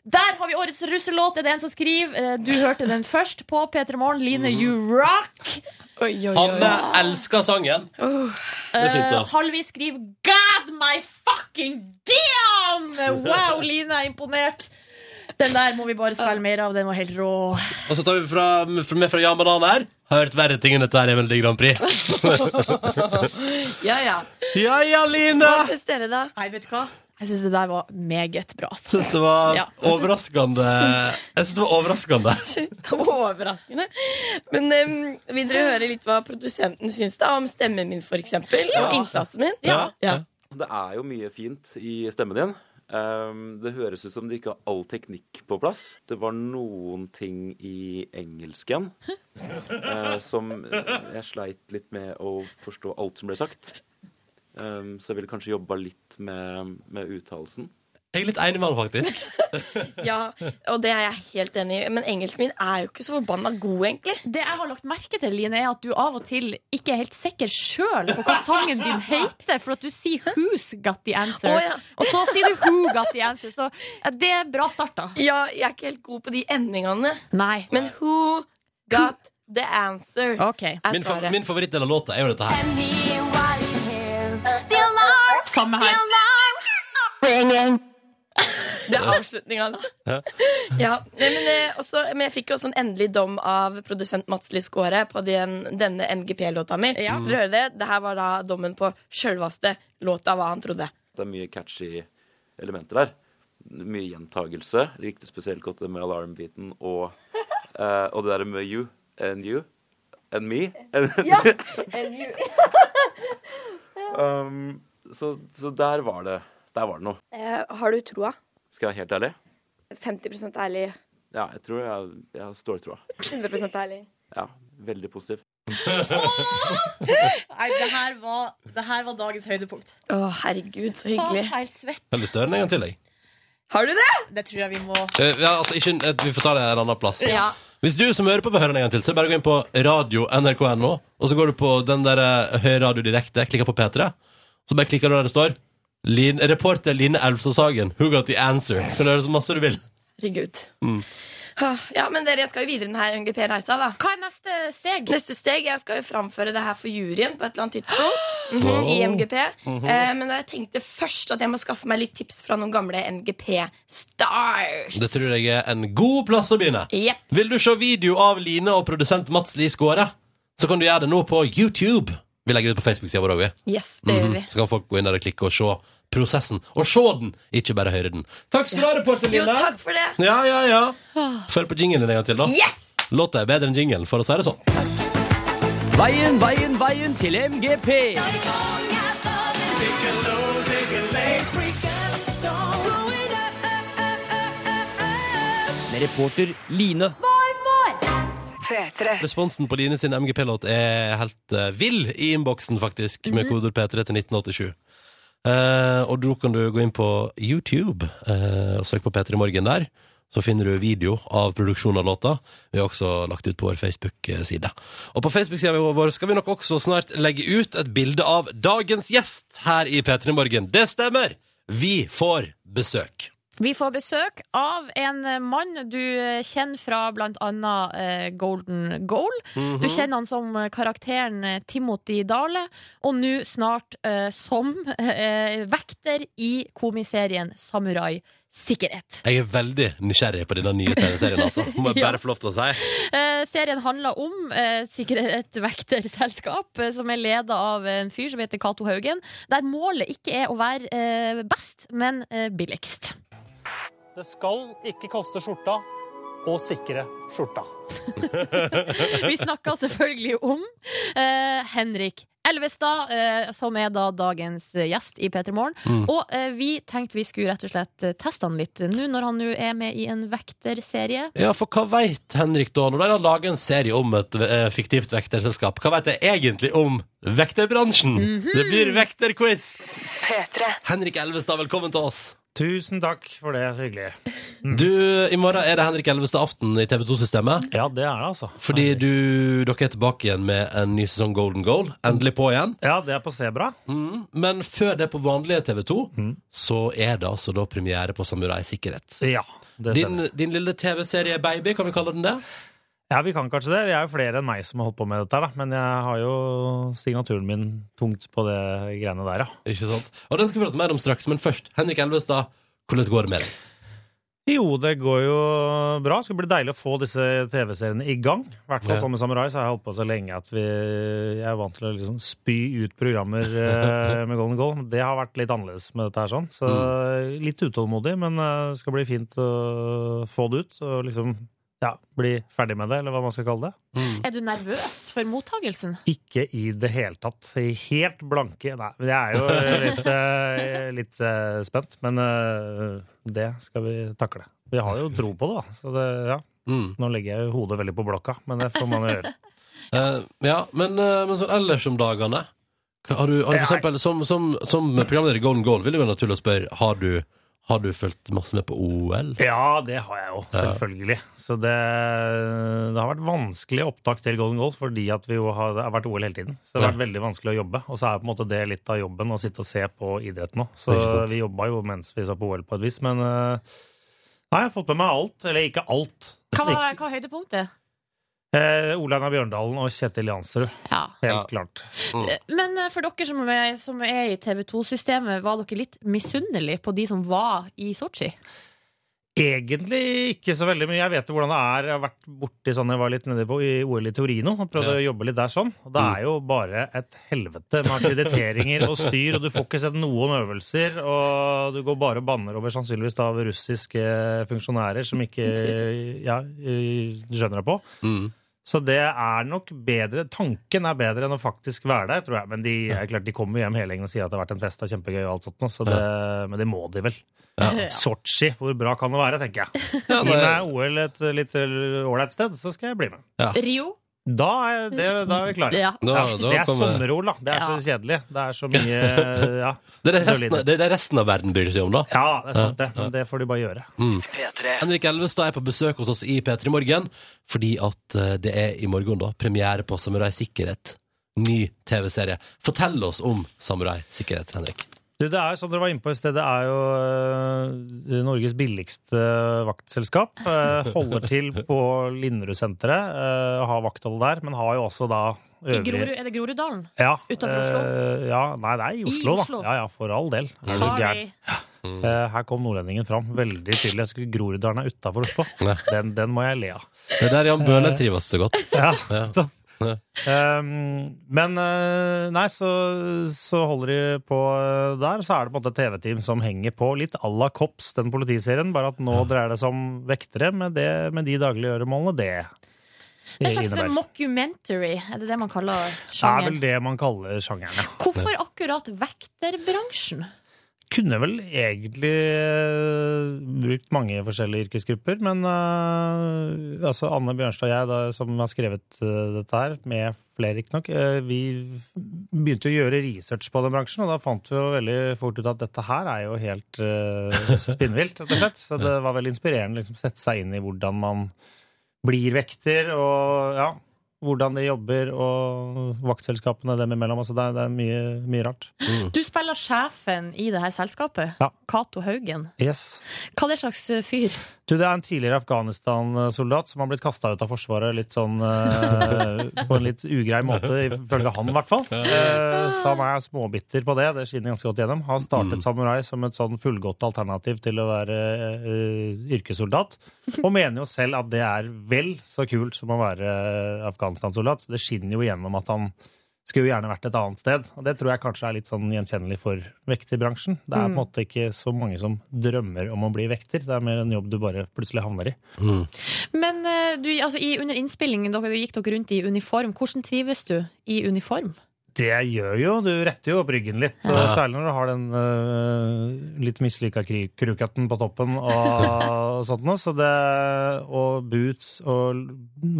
Der har vi årets russelåt, er det en som skriver. Eh, Du hørte den først på P3 Morgen. Line, you rock. Oi, oi, Hanne elsker sangen. er fint, da. Eh, Halvi skriver God my fucking damn! Wow, Line er imponert. Den der må vi bare spille mer av. Den var helt rå. Og så tar vi fra, fra- med fra Jan Banan her. Hørt verre ting enn dette her i Melodi Grand Prix. Ja, ja. ja, ja, Line! Hva syns dere, da? Nei, vet du hva? Jeg syns det der var meget bra. altså. Syns det var Ja. overraskende Jeg synes det var overraskende. Overraskende. Men em, vil dere høre litt hva produsenten syns da om stemmen min, for eksempel Og innsatsen min? Det er jo mye fint i stemmen din. Ehm, det høres ut som du ikke har all teknikk på plass. Det var noen ting i engelsken eh, som jeg sleit litt med å forstå alt som ble sagt. Ehm, så jeg ville kanskje jobba litt med, med uttalelsen. Jeg er litt enig med han, faktisk. Ja, og det er jeg helt enig i. Men engelsken min er jo ikke så forbanna god, egentlig. Det jeg har lagt merke til, Line, er at du av og til ikke er helt sikker sjøl på hva sangen din heter, for at du sier 'Who's got the answer', Å, ja. og så sier du 'Who got the answer'. Så eh, det er bra start, da. Ja, jeg er ikke helt god på de endingene. Nei. Men who got the answer? Ok. er Min, fa svaret. min favorittdel av låta er jo dette her. Samme her. Det er avslutninga, da. Ja, nei, men, eh, også, men jeg fikk jo også en endelig dom av produsent Mats Lie Skåre på den, denne MGP-låta mi. Ja. Dere hører det? Dette var da dommen på sjølvaste låta, hva han trodde. Det er mye catchy elementer der. Mye gjentagelse. Jeg likte spesielt godt det med alarmbiten og, eh, og det der med you and you and me. ja, and Eh, you. um, så, så der var det Der var det noe. har du troa? Skal jeg være helt ærlig? 50 ærlig. Ja, jeg tror jeg, jeg har ståltroa. 100 ærlig. Ja, veldig positiv. Nei, det her var, det her var dagens høydepunkt. Å, herregud, så Jeg hyggelig. var helt svett. Kan du større den en gang til, jeg? Har du det? Det tror jeg vi må Eh, ja, altså, ikke, eh, vi får ta det en annen plass. Ja. Hvis du som hører på vil høre den en gang til, så er det bare å gå inn på radio nrk.no, og så går du på den der eh, Hør radio direkte, klikker på P3, så bare klikker du der det står Lin, reporter Line Elvstad Sagen, who got the answer? Kan du høre så masse du vil. Herregud. Ah, Ja, men dere, jeg skal jo videre i denne MGP-reisa, da. Hva er neste steg? Neste steg, jeg skal jo framføre det her for juryen på et eller annet tidspunkt. Mhm, I Wow. MGP. Mhm. eh, men da jeg tenkte først at jeg må skaffe meg litt tips fra noen gamle MGP-stars. Det tror jeg er en god plass å begynne. Jepp. Vil du se video av Line og produsent Mats Lie Skåre, så kan du gjøre det nå på YouTube. Vi legger det ut på Facebook-sida vår òg, vi. Yes, det gjør vi. Så kan folk gå inn der og klikke og se prosessen. Og se den, ikke bare høre den. Takk skal du ha, reporter Jo, Line. takk for det. Ja, ja, ja. Før på jinglen en gang til, da. Yes! Låta er bedre enn jinglen, for å si det sånn. Veien, veien, veien til MGP. Med reporter Line. Responsen på Line sin MGP-låt er helt eh, vill i innboksen, faktisk, med kodeord P3 til 1987. Eh, og da kan du gå inn på YouTube eh, og søke på P3 Morgen der. Så finner du video av produksjonen av låta. Vi har også lagt ut på vår Facebook-side. Og på Facebook-sida vår skal vi nok også snart legge ut et bilde av dagens gjest her i P3 Morgen. Det stemmer! Vi får besøk. Vi får besøk av en mann du eh, kjenner fra blant annet eh, Golden Goal. Du kjenner han som eh, karakteren eh, Timothy Dale, og nå snart eh, som eh, vekter i komiserien Samurai Sikkerhet. Jeg er veldig nysgjerrig på denne nye TV-serien, altså. Må jeg Ja. bare få lov til å si. Eh, serien handler om eh, sikkerhet, et vekterselskap eh, som er leda av en fyr som heter Cato Haugen, der målet ikke er å være eh, best, men eh, billigst. Det skal ikke koste skjorta å sikre skjorta. Vi snakker selvfølgelig om eh, Henrik Elvestad, eh, som er da dagens gjest i P3 Morgen. Og eh, vi tenkte vi skulle rett og slett teste han litt nå når han nå er med i en vekterserie. Ja, for hva veit Henrik da, når de har laget en serie om et eh, fiktivt vekterselskap? Hva veit jeg egentlig om vekterbransjen? Det blir vekterquiz! Henrik Elvestad, velkommen til oss. Tusen takk for det. Så hyggelig. Du, I morgen er det Henrik Elvestad-aften i TV 2-systemet. Ja, det er det, altså. Fordi du, dere er tilbake igjen med en ny sesong Golden Goal. Endelig på igjen. Mm. Ja, det er på Sebra. Mm. Men før det på vanlige TV 2, så er det altså da premiere på Samurai Sikkerhet. Ja, det stemmer. Din, din lille TV-serie Baby, kan vi kalle den det? Ja, Vi kan kanskje det. Vi er jo flere enn meg som har holdt på med dette, her, da. men jeg har jo signaturen min tungt på det greiene der, ja. Ikke sant? Og den skal vi prate mer om straks, men først, Henrik Elvestad, hvordan går det med deg? Jo, det går jo bra. Det skulle bli deilig å få disse TV-seriene i gang. I hvert fall Ja. som med sånn- Samurai så har jeg holdt på så lenge at vi, jeg er vant til å liksom spy ut programmer eh, med Golden Goal. Det har vært litt annerledes med dette her sånn. Så litt utålmodig, men eh, det skal bli fint å få det ut. Og liksom ja, bli ferdig med det, eller hva man skal kalle det. Er du nervøs for mottagelsen? Ikke i det hele tatt. Helt blanke. Nei, men jeg er jo litt, eh, litt eh, spent, men eh, det skal vi takle. Vi har jo tro på det, da. Så det, ja. Mm. Nå legger jeg jo hodet veldig på blokka, men det får man jo gjøre. Eh, ja, men, eh, men sånn ellers om dagene hva- Har du, har du for eksempel, som, som, som programleder i Golden Goal Vil det være naturlig å spørre Har du, har du følt masse med på OL? Ja, det har jeg jo, selvfølgelig. Så det, det har vært vanskelig opptak til Golden Goal, fordi at vi jo har, det har vært OL hele tiden. Så det har vært veldig vanskelig å jobbe, og så er på en måte det litt av jobben å sitte og se på idretten nå. Så Ikke sant. vi jobba jo mens vi så på OL på et vis, men eh, Nei, jeg har fått med meg alt. Eller ikke alt. Hva Ikke- var hva var høydepunktet? Eh, Olaina Bjørndalen og Kjetil Jansrud. Helt klart. Men eh, for dere som er, som er i TV 2-systemet, var dere litt misunnelige på de som var i Sotsji? Egentlig ikke så veldig mye. Jeg vet jo hvordan det er. Jeg har vært borti sånn jeg var litt nede på i OL i Torino og prøvde å jobbe litt der sånn. Og det er jo bare et helvete med akkrediteringer og styr, og du får ikke sett noen øvelser, og du går bare og banner over sannsynligvis da av russiske funksjonærer som ikke ja, eh, skjønner deg på. Mm. Så det er nok bedre Tanken er bedre enn å faktisk være der, tror jeg. Men de, er klart, de kommer jo hjem hele gjengen og sier at det har vært en fest, det er kjempegøy og alt sånt, nå, så det, men det må de vel. Ja. Sotsji, hvor bra kan det være, tenker jeg. Gi meg OL et litt ålreit sted, så skal jeg bli med. Rio? Da er, det, da er vi klare. Ja. Da- da det er kommer- sommer-OL, da. Det er så kjedelig. Det er så mye ja. Det er det resten, det er det resten av verden bryr seg om da Ja, det er sant det. Men det får de bare gjøre. Mm. Henrik Elvestad er på besøk hos oss i P3 Morgen fordi at eh, det er i morgen da premiere på Samurai Sikkerhet. Ny TV-serie. Fortell oss om Samurai Sikkerhet, Henrik. Du, det er som dere var inne på i sted, det er jo øh, Norges billigste eh, vaktselskap. øh, holder til på Linderud-senteret, øh, har vakthold der, men har jo også da I øvrige Grorud, er det Groruddalen? ja, Utenfor Oslo? øh, ja, nei, det er i I Oslo, Oslo. da. Ja, ja, for all del. Er du Sorry. gæren? Ja. Eh, her kom nordlendingen fram veldig tydelig. Jeg skulle Groruddalen er utafor Oslo. Den, den må jeg le av. Det er der Jan Eh. Bøhler trives så godt. Ja, Ja. Um, men eh, nei, så, så holder de på eh, der. Så er det på en måte et TV-team som henger på litt à la Kops, den politiserien. Bare at nå dreier det seg om vektere med, det, med de daglige gjøremålene det, Det det er en slags innebærer. mockumentary, er det det man Det kaller er vel sjangeren? det man kaller sjangeren, ja. Hvorfor akkurat vekterbransjen? Kunne vel egentlig eh, brukt mange forskjellige yrkesgrupper, men eh, altså Anne Bjørnstad og jeg, da, som har skrevet eh, dette her, med flere riktignok, uh, vi begynte å gjøre research på den bransjen, og da fant vi jo veldig fort ut at dette her er jo helt eh, spinnvilt, rett og slett. Så det var veldig inspirerende å liksom, sette seg inn i hvordan man blir vekter, og ja, hvordan de jobber, og vaktselskapene dem imellom. Altså det er, det er mye, mye rart. Du spiller sjefen i det her selskapet, Cato Haugen. Yes. Hva er det slags eh, fyr? Du, det er en tidligere Afghanistan-soldat som har blitt kasta ut av Forsvaret litt sånn eh, På en litt ugrei måte, ifølge han i hvert fall. Eh, så han er småbitter på det. Det skinner ganske godt gjennom. Har startet Samurai som et sånn fullgodt alternativ til å være eh, yrkessoldat. Og mener jo selv at det er vel så kult som å være eh, Afghanistan-soldat. Så det skinner jo gjennom at han skulle jo gjerne vært et annet sted. Og det tror jeg kanskje er litt sånn gjenkjennelig for vekterbransjen. Det er på en Mm. måte ikke så mange som drømmer om å bli vekter. Det er mer en jobb du bare plutselig havner i. Men eh, du, altså, i, under innspillingen dere, gikk dere rundt i uniform. Hvordan trives du i uniform? Det gjør jo, du retter jo opp ryggen litt, og Ja. særlig når du har den øh, litt mislykka kri- krukatten på toppen og sånt noe. Så det, og boots og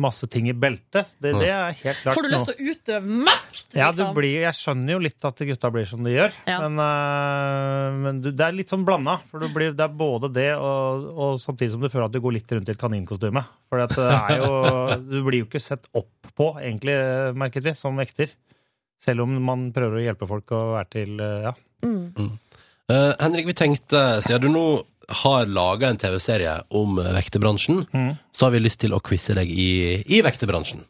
masse ting i beltet, det, det er helt klart Får du lyst noe- til å utøve makt? liksom? Ja, du blir, jeg skjønner jo litt at gutta blir som de gjør, Ja. men, øh, men du, det er litt sånn blanda. For du blir, det er både det, og, og samtidig som du føler at du går litt rundt i et kaninkostyme. For det er jo, du blir jo ikke sett opp på, egentlig, merket vi, som vekter. Selv om man prøver å hjelpe folk og være til øh, ja. Eh, Henrik, vi tenkte, siden du nå har laga en TV-serie om eh, vekterbransjen, Mm. så har vi lyst til å quize deg i, i vekterbransjen.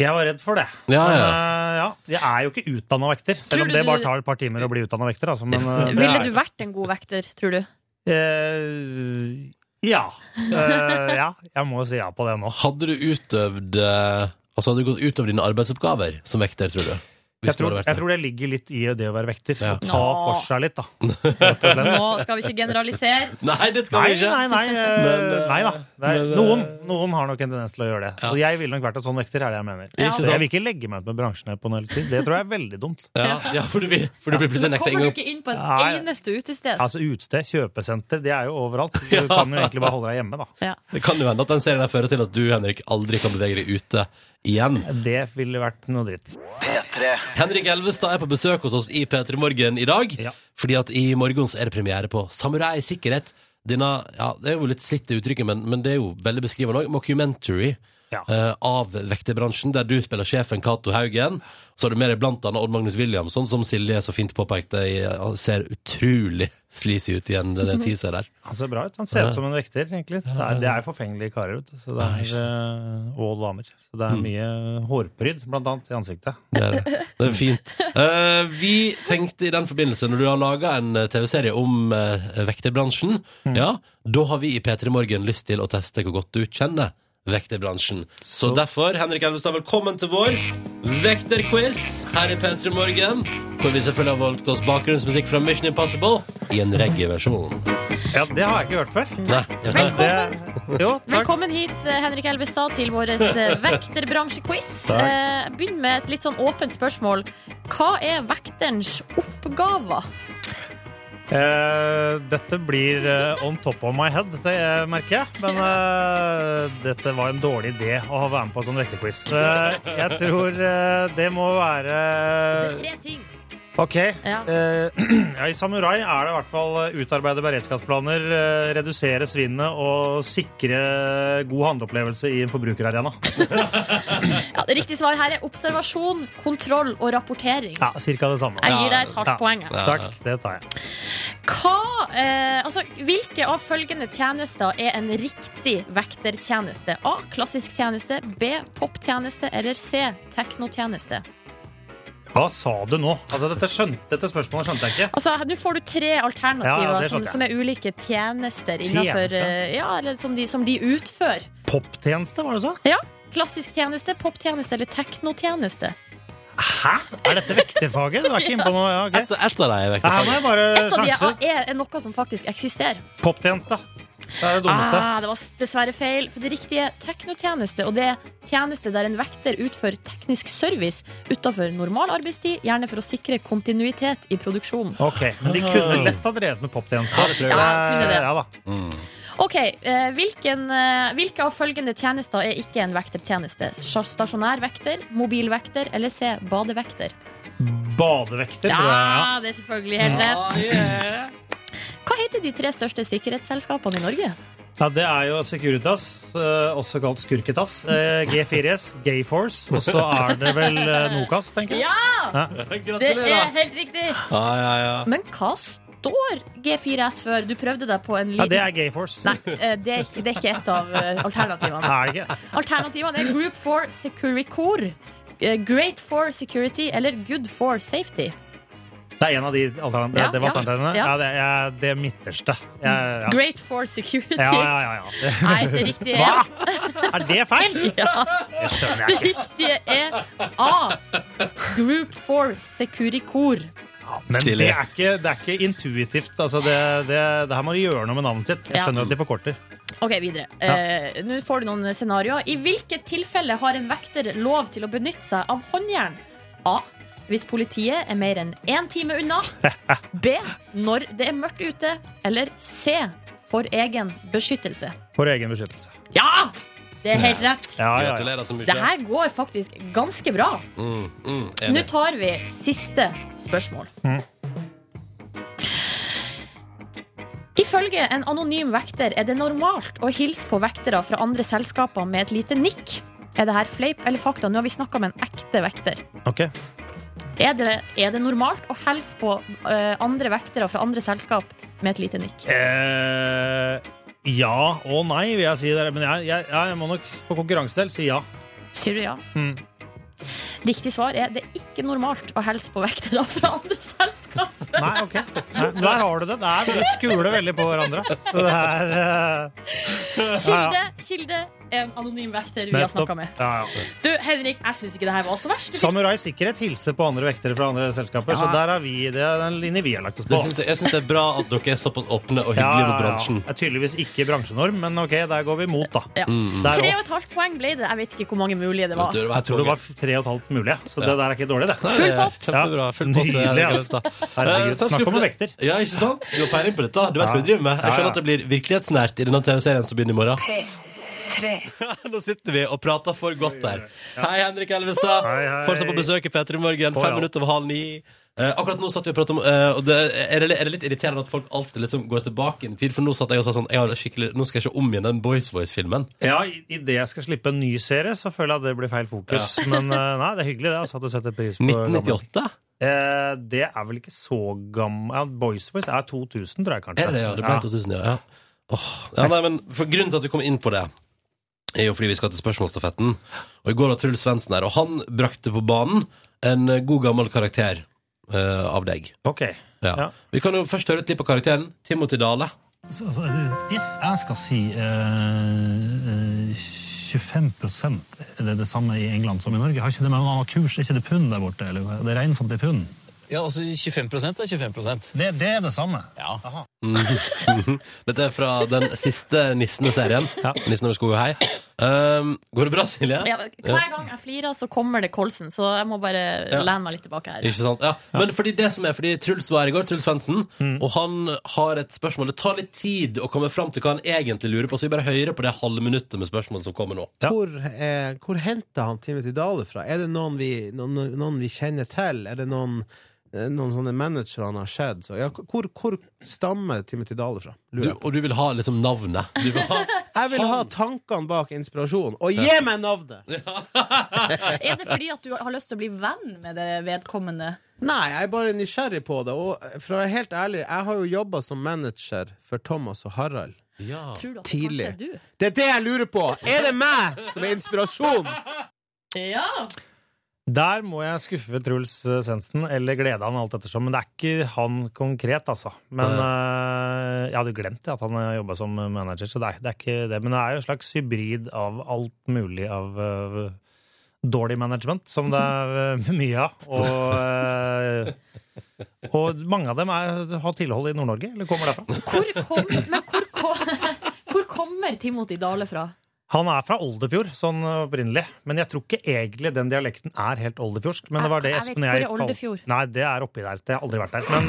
Jeg var redd for det. Ja, Men, ja. øh, ja, jeg er jo ikke utdanna vekter, Tror selv om du det bare du- tar et par timer å bli utdanna vekter. Altså, men, øh, det eh, er Ville jeg du vært en god vekter, tror du? Eh, Ja. Eh, ja. Jeg må si ja på det nå. Hadde du utøvd eh, Altså hadde du gått utover dine arbeidsoppgaver som vekter, tror du? Hvis Jeg du tror, hadde vært jeg tror det ligger litt i det å være vekter. Å ta Nå. for seg litt, da. Nå skal vi ikke generalisere. Nei, det Nei, nei, nei, eh, Men, eh, nei da. Det er, noen, noen har nok en tendens til å gjøre det. Og jeg ville nok vært en sånn vekter, er det jeg mener. Ja. Ikke Så sant? Jeg vil ikke legge meg ut med bransjen her på noe tid. Det tror jeg er veldig dumt. Ja, ja for du, vil- for du blir plutselig nekta Kommer du inngang. ikke inn på et Nei. eneste utested? Altså utested, kjøpesenter, det er jo overalt. Du kan jo egentlig bare holde deg hjemme, da. Det kan jo hende at den serien her fører til at du, Henrik, aldri kan bevege deg ute igjen. Det ville vært noe dritt. Henrik Elvestad er på besøk hos oss i P3 Morgen i dag. Fordi at i morgen så er det premiere på Samurai Sikkerhet. Denne, ja, det er jo litt slitt det uttrykket, men, men det er jo veldig beskrivende òg. Mockumentary eh, av vekterbransjen, der du spiller sjefen Cato Haugen. Så har du med deg blant annet Odd Magnus Williamson, som Silje så fint påpekte i- ja, ser utrolig sleazy ut igjen, den den teaser der. Han ser bra ut. Han ser Ja. ut som en vekter, egentlig. Det er, det er forfengelige karer, vet du. Så det Ja, ikke Mm. er, eh, og damer. Så det er mye hårpryd, blant annet, i ansiktet. Det er, det. det er fint. Eh, vi tenkte i den forbindelse, når du har laga en eh, TV-serie om eh, vekterbransjen, ja, da har vi i P3 Morgen lyst til å teste hvor godt du kjenner vekterbransjen. Så, derfor, Henrik Elvestad, velkommen til vår vekterquiz her i P3 Morgen. Hvor vi selvfølgelig har valgt oss bakgrunnsmusikk fra Mission Impossible i en reggae-versjon. Ja, det har jeg ikke hørt før. Nei. Velkommen. Jo, Velkommen hit, eh, Henrik Elvestad, til vår eh, vekterbransjequiz. Takk. Eh, Begynn med et litt sånn åpent spørsmål. Hva er vekterens oppgaver? Eh, dette blir eh, on top of my head, det eh, merker jeg. Men eh, dette var en dårlig idé å ha være med på en sånn vekterquiz. Eh, jeg tror eh, det må være eh, Tre ting. Ok. Eh, ja, I Samurai er det i hvert fall eh, utarbeide beredskapsplaner, eh, redusere svinnet og sikre god handleopplevelse i en forbrukerarena. Ja, det riktige svar her er observasjon, kontroll og rapportering. Ja, Cirka det samme. Jeg gir deg et hardt poeng, jeg. Takk, det tar jeg. Hva, eh, altså, hvilke av følgende tjenester er en riktig vektertjeneste? A. Klassisk tjeneste. B. Poptjeneste. Eller C. Teknotjeneste. Hva sa du nå? Altså, dette, skjønte, dette spørsmålet skjønte jeg ikke. Altså, Nå får du tre alternativer Ja, det som, skjønte jeg. som er ulike tjenester Tjeneste? innenfor eh, Ja, eller som de, som de utfører. Poptjeneste, var det så? Ja. Klassisk tjeneste, poptjeneste eller teknotjeneste. Hæ? Er dette vekterfaget? Du er ikke inne på noe? Ja, ok. Et, et av dem er Her må jeg bare Et av de Eh, sjanse. er, er noe som faktisk eksisterer. Poptjeneste. Det er det dummeste. Ah, det var dessverre feil. For det riktige er teknotjeneste, og det er tjeneste der en vekter utfører teknisk service utenfor normal arbeidstid, gjerne for å sikre kontinuitet i produksjonen. Ok, Men de kunne lett ha drevet med poptjeneste. Eh, det tror jeg. Ja, kunne det. Ja, da. Mm. Ok, eh, hvilken, eh, Hvilke av følgende tjenester er ikke en vektertjeneste? Stas- Stasjonær vekter, mobil vekter eller C. Badevekter? Badevekter, tror jeg. ja. Ja, det er selvfølgelig helt Ah, rett. Hva heter de tre største sikkerhetsselskapene i Norge? Ja, Det er jo Securitas, eh, også kalt Skurketas. eh, G4S, Gayforce, og så er det vel eh, Nokas, tenker jeg. Ja! Det er Gratulerer. helt riktig. Ja, ja, ja. Men hva står G4S før? Du prøvde deg på en liten Ja, det er Gayforce. Nei, eh, det er, ikke- det er ikke et av eh, alternativene. Er det ikke? Alternativene er Group 4 Securicor, eh, Great for Security eller Good for Safety. Det er en av de alternativene. Ja, det var ja, alternativene. ja. Ja, det, er det midterste. Jeg, ja. Great for Security. Ja, ja, ja, ja. Nei, det riktige Hva? er Er det feil? Ja. Det skjønner Det jeg ikke. riktige er A. Group 4 Securicor. Men Stilig. det er ikke, det er ikke intuitivt. Altså, det, det, det her må de gjøre noe med navnet sitt. Jeg Ja. skjønner at de forkorter. Ok, videre. Eh, Nå får du noen scenarioer. I hvilket tilfelle har en vekter lov til å benytte seg av håndjern? A. Hvis politiet er mer enn én time unna. B. Når det er mørkt ute. Eller C. For egen beskyttelse. For egen beskyttelse. Ja! Det er helt rett. Ja, ja, ja. Gratulerer så mye. Det her går faktisk ganske bra. Mm, mm, Nå enig. tar vi siste spørsmål. Mm. Ifølge en anonym vekter er det normalt å hilse på vektere fra andre selskaper med et lite nikk. Er det her fleip eller fakta? Nå har vi snakka med en ekte vekter. Ok. Er det, er det normalt å hilse på eh, andre vektere fra andre selskap med et lite nikk? Eh, ja og nei, vil jeg si. Det. Men jeg, jeg, jeg må nok for konkurransedel si ja. Sier du ja? Mm. Riktig svar er det er ikke normalt å hilse på vektere fra andre selskap Nei, ok. Nei, der har du det. Det er, vi skuler veldig på hverandre. Så det er eh, Kilde, kilde, en anonym vekter vi har Nettopp. snakka med. Ja, ja. Du, Henrik, jeg syns ikke det her var så verst. Du fikk- Samurai Sikkerhet hilser på andre vektere fra andre selskaper, så Ja. der er vi, det er den linje vi har lagt oss på. Det synes jeg, jeg syns det er bra at dere er såpass åpne og hyggelige mot bransjen. Det er tydeligvis ikke bransjenorm, men ok, der går vi imot, da. Ja. Mm. Der også. Tre og et halvt poeng ble det. Jeg vet ikke hvor mange mulige det var. Jeg tror det var tre og et halvt mulig, så det der er ikke dårlig, det. Full pott! Kjempebra. Full pott. Nydelig, Erik altså. Lønstad. Herregud, Eh, takk skal snakk du om for- vekter. Ja, ikke sant? Du har peiling på dette. Du vet hva du driver med. Jeg Ja, ja. skjønner at det blir virkelighetsnært i denne TV-serien som begynner i morgen. Nå sitter vi og prater for godt der. Hei, Henrik Elvestad. Fortsatt på besøk i P3 Morgen, På, fem ja. minutter over halv ni. Eh, akkurat nå satt vi og pratet om eh, og det, er, det, er det litt irriterende at folk alltid liksom går tilbake inn i tid? For nå satt jeg og sa sånn jeg har skikkelig, Nå skal jeg se om igjen den Boys Voice-filmen. Ja, i- Idet jeg skal slippe en ny serie, så føler jeg at det blir feil fokus. Ja. Men eh, nei, det er hyggelig det, altså, at du setter pris på 1998? Eh, det er vel ikke så gammel ja, Boys Voice er 2000, tror jeg kanskje. Er det det? Ja, det ble 2000, ja. ja. Åh, ja nei, men for Grunnen til at vi kom inn på det, er jo fordi vi skal til spørsmålsstafetten. Og I går var Truls Svendsen her, og han brakte på banen en god gammel karakter eh, av deg. Ok. Ja. Vi kan jo først høre et klipp av karakteren. Timothy Dale. Så, altså, eh, hvis jeg skal si eh, eh, 25 er det det samme i England som i Norge? Har ikke det med noen annen kurs? Er ikke det pund der borte? Eller? hva? Det er reinsamt i pund. Ja, altså 25 er 25 Det, det er det samme. Ja. Mm. Dette er fra den siste Nissene-serien. Nissen over skog og hei. Um, går det bra, Silje? Ja, hver gang jeg flirer, så kommer det kolsen, så jeg må bare Ja. lene meg litt tilbake her. Ikke sant? Ja. Men fordi det som er fordi Truls var her i går, Truls Svendsen, og han har et spørsmål. Det tar litt tid å komme fram til hva han egentlig lurer på, så vi bare hører på det halve minuttet med spørsmål som kommer nå. Hvor, eh, hvor henter han Timothy Dale fra? Er det noen vi, noen, noen vi kjenner til? Er det noen, eh, noen sånne managere han har sett? Så, ja, hvor, hvor stammer Timothy Dale fra? Du, og du vil ha liksom navnet. Du vil ha Jeg vil ha tankene bak inspirasjonen, og gi Ja. meg navnet! Er det fordi at du har lyst til å bli venn med det vedkommende? Nei, jeg er bare nysgjerrig på det. Og eh, for å være helt ærlig, jeg har jo jobba som manager for Thomas og Harald. Tror du at det Tidlig. kanskje er du? Det er det jeg lurer på! Er det meg som er inspirasjonen? Ja! Der må jeg skuffe Truls eh, Svendsen, eller glede han alt ettersom. Men det er ikke han konkret, altså. Men eh, jeg hadde glemt det, at han jobba som manager, så det er, det er ikke det. Men det er jo en slags hybrid av alt mulig av eh, dårlig management, som det er eh, mye av. Og, eh, og mange av dem er, har tilhold i Nord-Norge, eller kommer derfra. Hvor kommer Timothy Dale fra? Han er fra Oldefjord, sånn opprinnelig. Men jeg tror ikke egentlig den dialekten er helt oldefjordsk. Men det var det Jeg- jeg Espen og vet jeg ikke hvor er Oldefjord. Nei, det er oppi der. Det har jeg aldri vært der. Men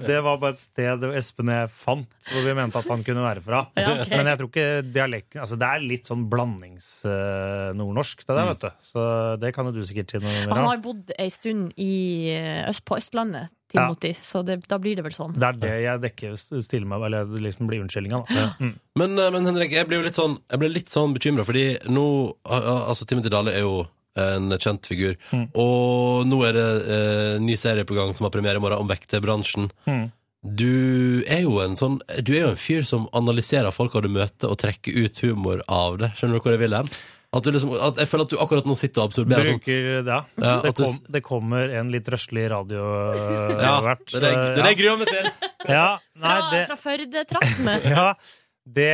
eh, det var bare et sted Espen og jeg fant, hvor vi mente at han kunne være fra. Ja, ok. Men jeg tror ikke dialekten Altså, det er litt sånn blandings-nordnorsk, det der, vet du. Så det kan jo du sikkert si noe Mm. Han mer har om. jo bodd ei stund i, eh, øst, på Østlandet, Timothy, så det, da blir det vel sånn. Det er det jeg dekker, stiller meg, eller liksom blir unnskyldninga, da. Mm. Men, eh, men Henrik, jeg ble jo litt sånn, jeg ble litt sånn bekymra, fordi nå ah, ah, Altså, Timothy Dale er jo en kjent figur, og nå er det eh, ny serie på gang som har premiere i morgen, om vekterbransjen. Mm. Du er jo en sånn Du er jo en fyr som analyserer folka du møter, og trekker ut humor av det. Skjønner du hvor jeg vil hen? At du liksom, at jeg føler at du akkurat nå sitter og absorberer sånn. Bruker det, ja. Ja, det, at du- kom, det kommer en litt røslig radio øh, Ja, hvert, det er det jeg- øh, det er det jeg ja. gruer meg til. Ja, nei, Fra, det, fra Førde-traktene. ja, det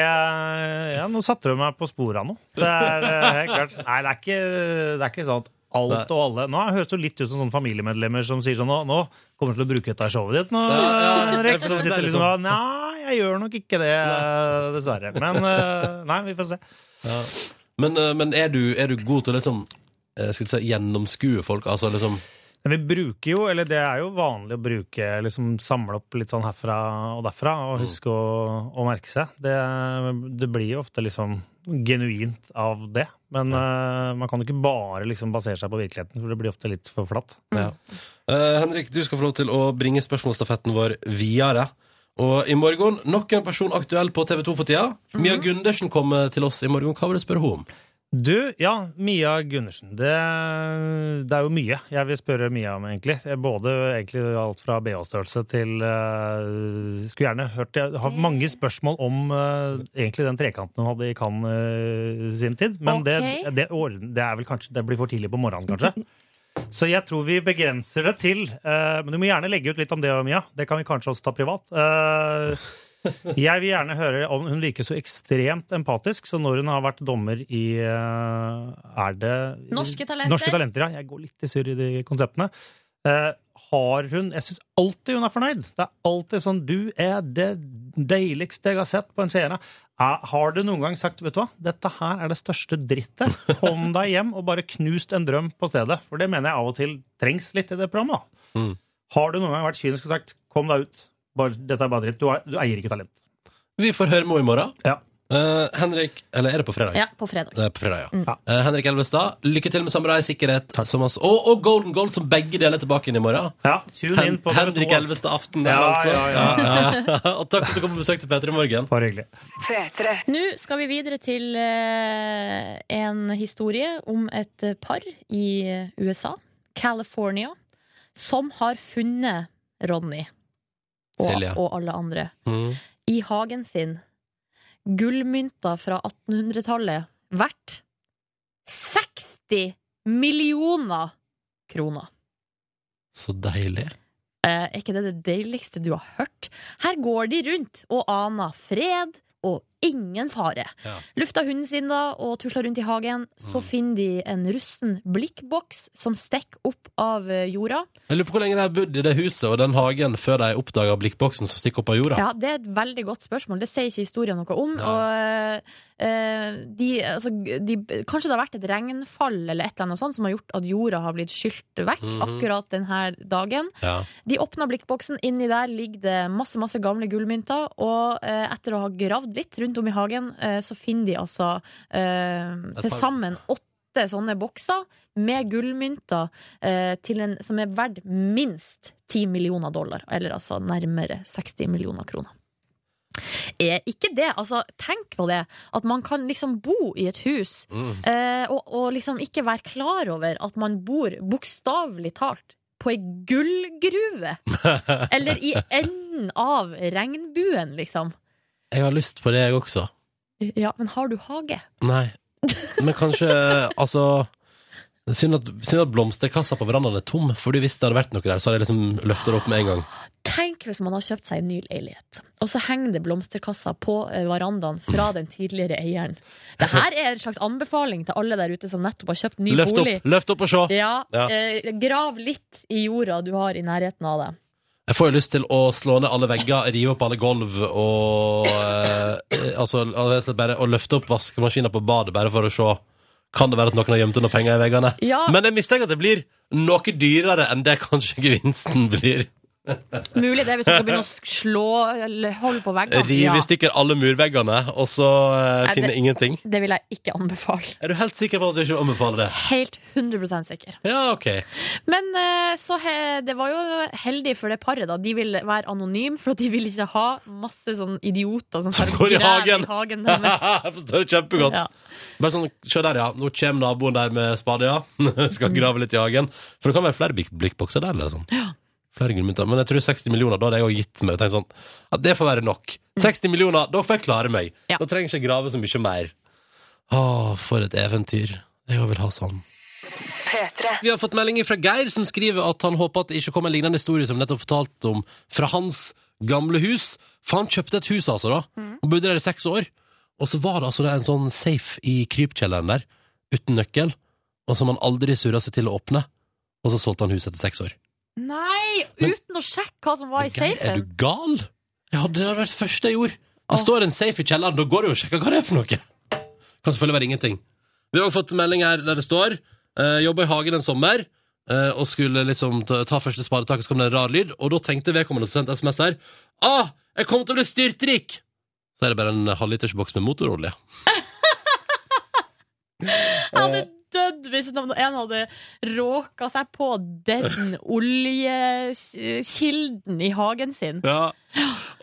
Ja, nå satte du meg på sporet av noe. Det er øh, helt klart. Nei, det er ikke, det er ikke sant. Alt og alle. Nå høres det jo litt ut som sånne familiemedlemmer som sier sånn Nå, nå kommer du til å bruke dette i showet ditt nå, Ja, ja, Henrik. det er Så sånn sitter det er du liksom liksom. og Nei, jeg gjør nok ikke det, øh, dessverre. Men øh, nei, vi får se. Ja. Men, eh, men er, du, er du god til å liksom eh, Skal du si gjennomskue folk? Altså liksom Men vi bruker jo, eller det er jo vanlig å bruke, liksom samle opp litt sånn herfra og derfra, og huske å, å merke seg. Det, det blir jo ofte liksom genuint av det. Men eh, man kan jo ikke bare liksom basere seg på virkeligheten, for det blir ofte litt for flatt. Ja. Eh, Henrik, du skal få lov til å bringe spørsmålstafetten vår videre. Og i morgen, nok en person aktuell på TV2 for tida. Mhm. Mia Gundersen kommer til oss i morgen. Hva vil du spørre henne om? Du, ja, Mia Gundersen. Det, det er jo mye jeg vil spørre Mia om, egentlig. Både egentlig alt fra BH-størrelse til eh, Skulle gjerne hørt Jeg har mange spørsmål om eh, egentlig den trekanten hun hadde i Cannes eh, sin tid. Men det, Ok. det, ordn- det er vel kanskje Det blir for tidlig på morgenen, kanskje. Så jeg tror vi begrenser det til eh, Men du må gjerne legge ut litt om det, Mia. Det kan vi kanskje også ta privat. Eh, jeg vil gjerne høre om Hun virker så ekstremt empatisk, så når hun har vært dommer i eh, Er det Norske Talenter. Norske talenter ja. Jeg går litt i surr i de konseptene. Eh, har hun Jeg syns alltid hun er fornøyd. Det er alltid sånn 'Du er det deiligste jeg har sett på en scene'. Eh, har du noen gang sagt 'Vet du hva, dette her er det største drittet'. Kom deg hjem og bare knust en drøm på stedet. For det mener jeg av og til trengs litt i det programmet. da. Mm. Har du noen gang vært kynisk og sagt 'Kom deg ut, bare, dette er bare dritt'. Du, er, du eier ikke talent. Vi får høre med henne i morgen. Ja. Eh, Henrik, eller er det på fredag? Ja, på fredag. Det er på fredag, ja. Mm. Eh, Henrik Elvestad, lykke til med Samurai Sikkerhet som altså, og, og Golden Gold, som begge deler tilbake inn i morgen. tune Hen inn på TV2, Henrik altså. Elvestad Aften der, Ja, altså. ja, ja, ja. og takk for at du kom på besøk til Peter i morgen. Bare hyggelig. Nå skal vi videre til eh, en historie om et eh, par i eh, USA, California, som har funnet Ronny og, Silje. og alle andre Mm. i hagen sin. Gullmynter fra 1800-tallet verdt 60 millioner kroner. Så deilig. Eh, er ikke det det deiligste du har hørt? Her går de rundt og aner fred og ingen fare. Ja. Lufta hunden sin da og tusler rundt i hagen. Så finner de en russen blikkboks som stikker opp av eh, jorda. Jeg lurer på hvor lenge de har bodd i det huset og den hagen før de oppdaga blikkboksen som stikker opp av jorda. Ja, Det er et veldig godt spørsmål. Det sier ikke historien noe om. Nei. Og, eh, de, altså, de, kanskje det har vært et regnfall eller et eller annet sånt som har gjort at jorda har blitt skylt vekk Mhm. akkurat denne dagen. Ja. De åpna blikkboksen, inni der ligger det masse masse gamle gullmynter. Og eh, etter å ha gravd litt rundt om i hagen, eh, så finner de altså eh, Et til par- sammen åtte sånne bokser med gullmynter eh, til en, som er verdt minst 10 millioner dollar. Eller altså nærmere 60 millioner kroner. Er ikke det? Altså, tenk på det. At man kan liksom bo i et hus Mm. eh, og, og liksom ikke være klar over at man bor bokstavelig talt på ei gullgruve. Eller i enden av regnbuen, liksom. Jeg har lyst på det, jeg også. Ja, men har du hage? Nei. Men kanskje Altså det er Synd at, synd at blomsterkassa på verandaen er tom, Fordi hvis det hadde vært noe der, så hadde jeg liksom løfta det opp med en gang. Tenk hvis man har kjøpt seg en ny leilighet, og så henger det blomsterkasser på eh, verandaen fra den tidligere eieren. Det her er en slags anbefaling til alle der ute som nettopp har kjøpt ny Løft opp, bolig. løft opp og se! Ja, Ja. eh, grav litt i jorda du har i nærheten av deg. Jeg får jo lyst til å slå ned alle vegger, rive opp alle golv og eh, Altså rett og slett bare å løfte opp vaskemaskina på badet bare for å se. Kan det være at noen har gjemt unna penger i veggene? Ja. Men jeg mistenker at det blir noe dyrere enn det kanskje gevinsten blir. Mulig det, hvis du skal begynne å sk- slå eller holde på veggene. Rive i stykker alle murveggene, og så eh, Nei, finne det- ingenting. Det vil jeg ikke anbefale. Er du helt sikker på at du ikke anbefaler det? Helt 100 sikker. Ja, ok. Men eh, så he, det var jo heldig for det paret, da. De vil være anonyme, for de vil ikke ha masse sånn idioter som, bare Går i graver hagen. i hagen deres. jeg forstår det kjempegodt. Ja. Bare sånn, se der, ja. Nå kommer naboen der med spade, ja. Skal grave litt i hagen. For det kan være flere blikk- blikkbokser der, liksom. Flere gullmynter. Men jeg tror 60 millioner, da hadde jeg også gitt meg. og Tenkt sånn, ja, det får være nok. 60 millioner, da får jeg klare meg. Da trenger jeg ikke grave så mye mer. Å, for et eventyr. Jeg vil ha sånn. Vi har fått meldinger fra Geir, som skriver at han håper at det ikke kom en lignende historie som nettopp fortalt om fra hans gamle hus. For han kjøpte et hus, altså, da. Og bodde der i seks år. Og så var det altså en sånn safe i krypkjelleren der, uten nøkkel, og som han aldri surra seg til å åpne. Og så solgte han huset etter seks år. Nei! Men- Uten å sjekke hva som var i Geir, er safen. du gal? Jeg hadde det hadde vært det første jeg gjorde. Det står en safe i kjelleren, da går jeg og sjekker hva det er for noe. Kan selvfølgelig være ingenting. Vi har også fått melding her der det står uh, Jobba i hagen en sommer eh, og skulle liksom ta, ta første spadetak, og så kom det en rar lyd, og da tenkte vedkommende som sendte SMS her Ah, jeg kommer til å bli styrtrik! Så er det bare en halvliters boks med motorolje. Jeg hadde dødd hvis noen- en hadde råka seg på den oljekilden i hagen sin. Ja.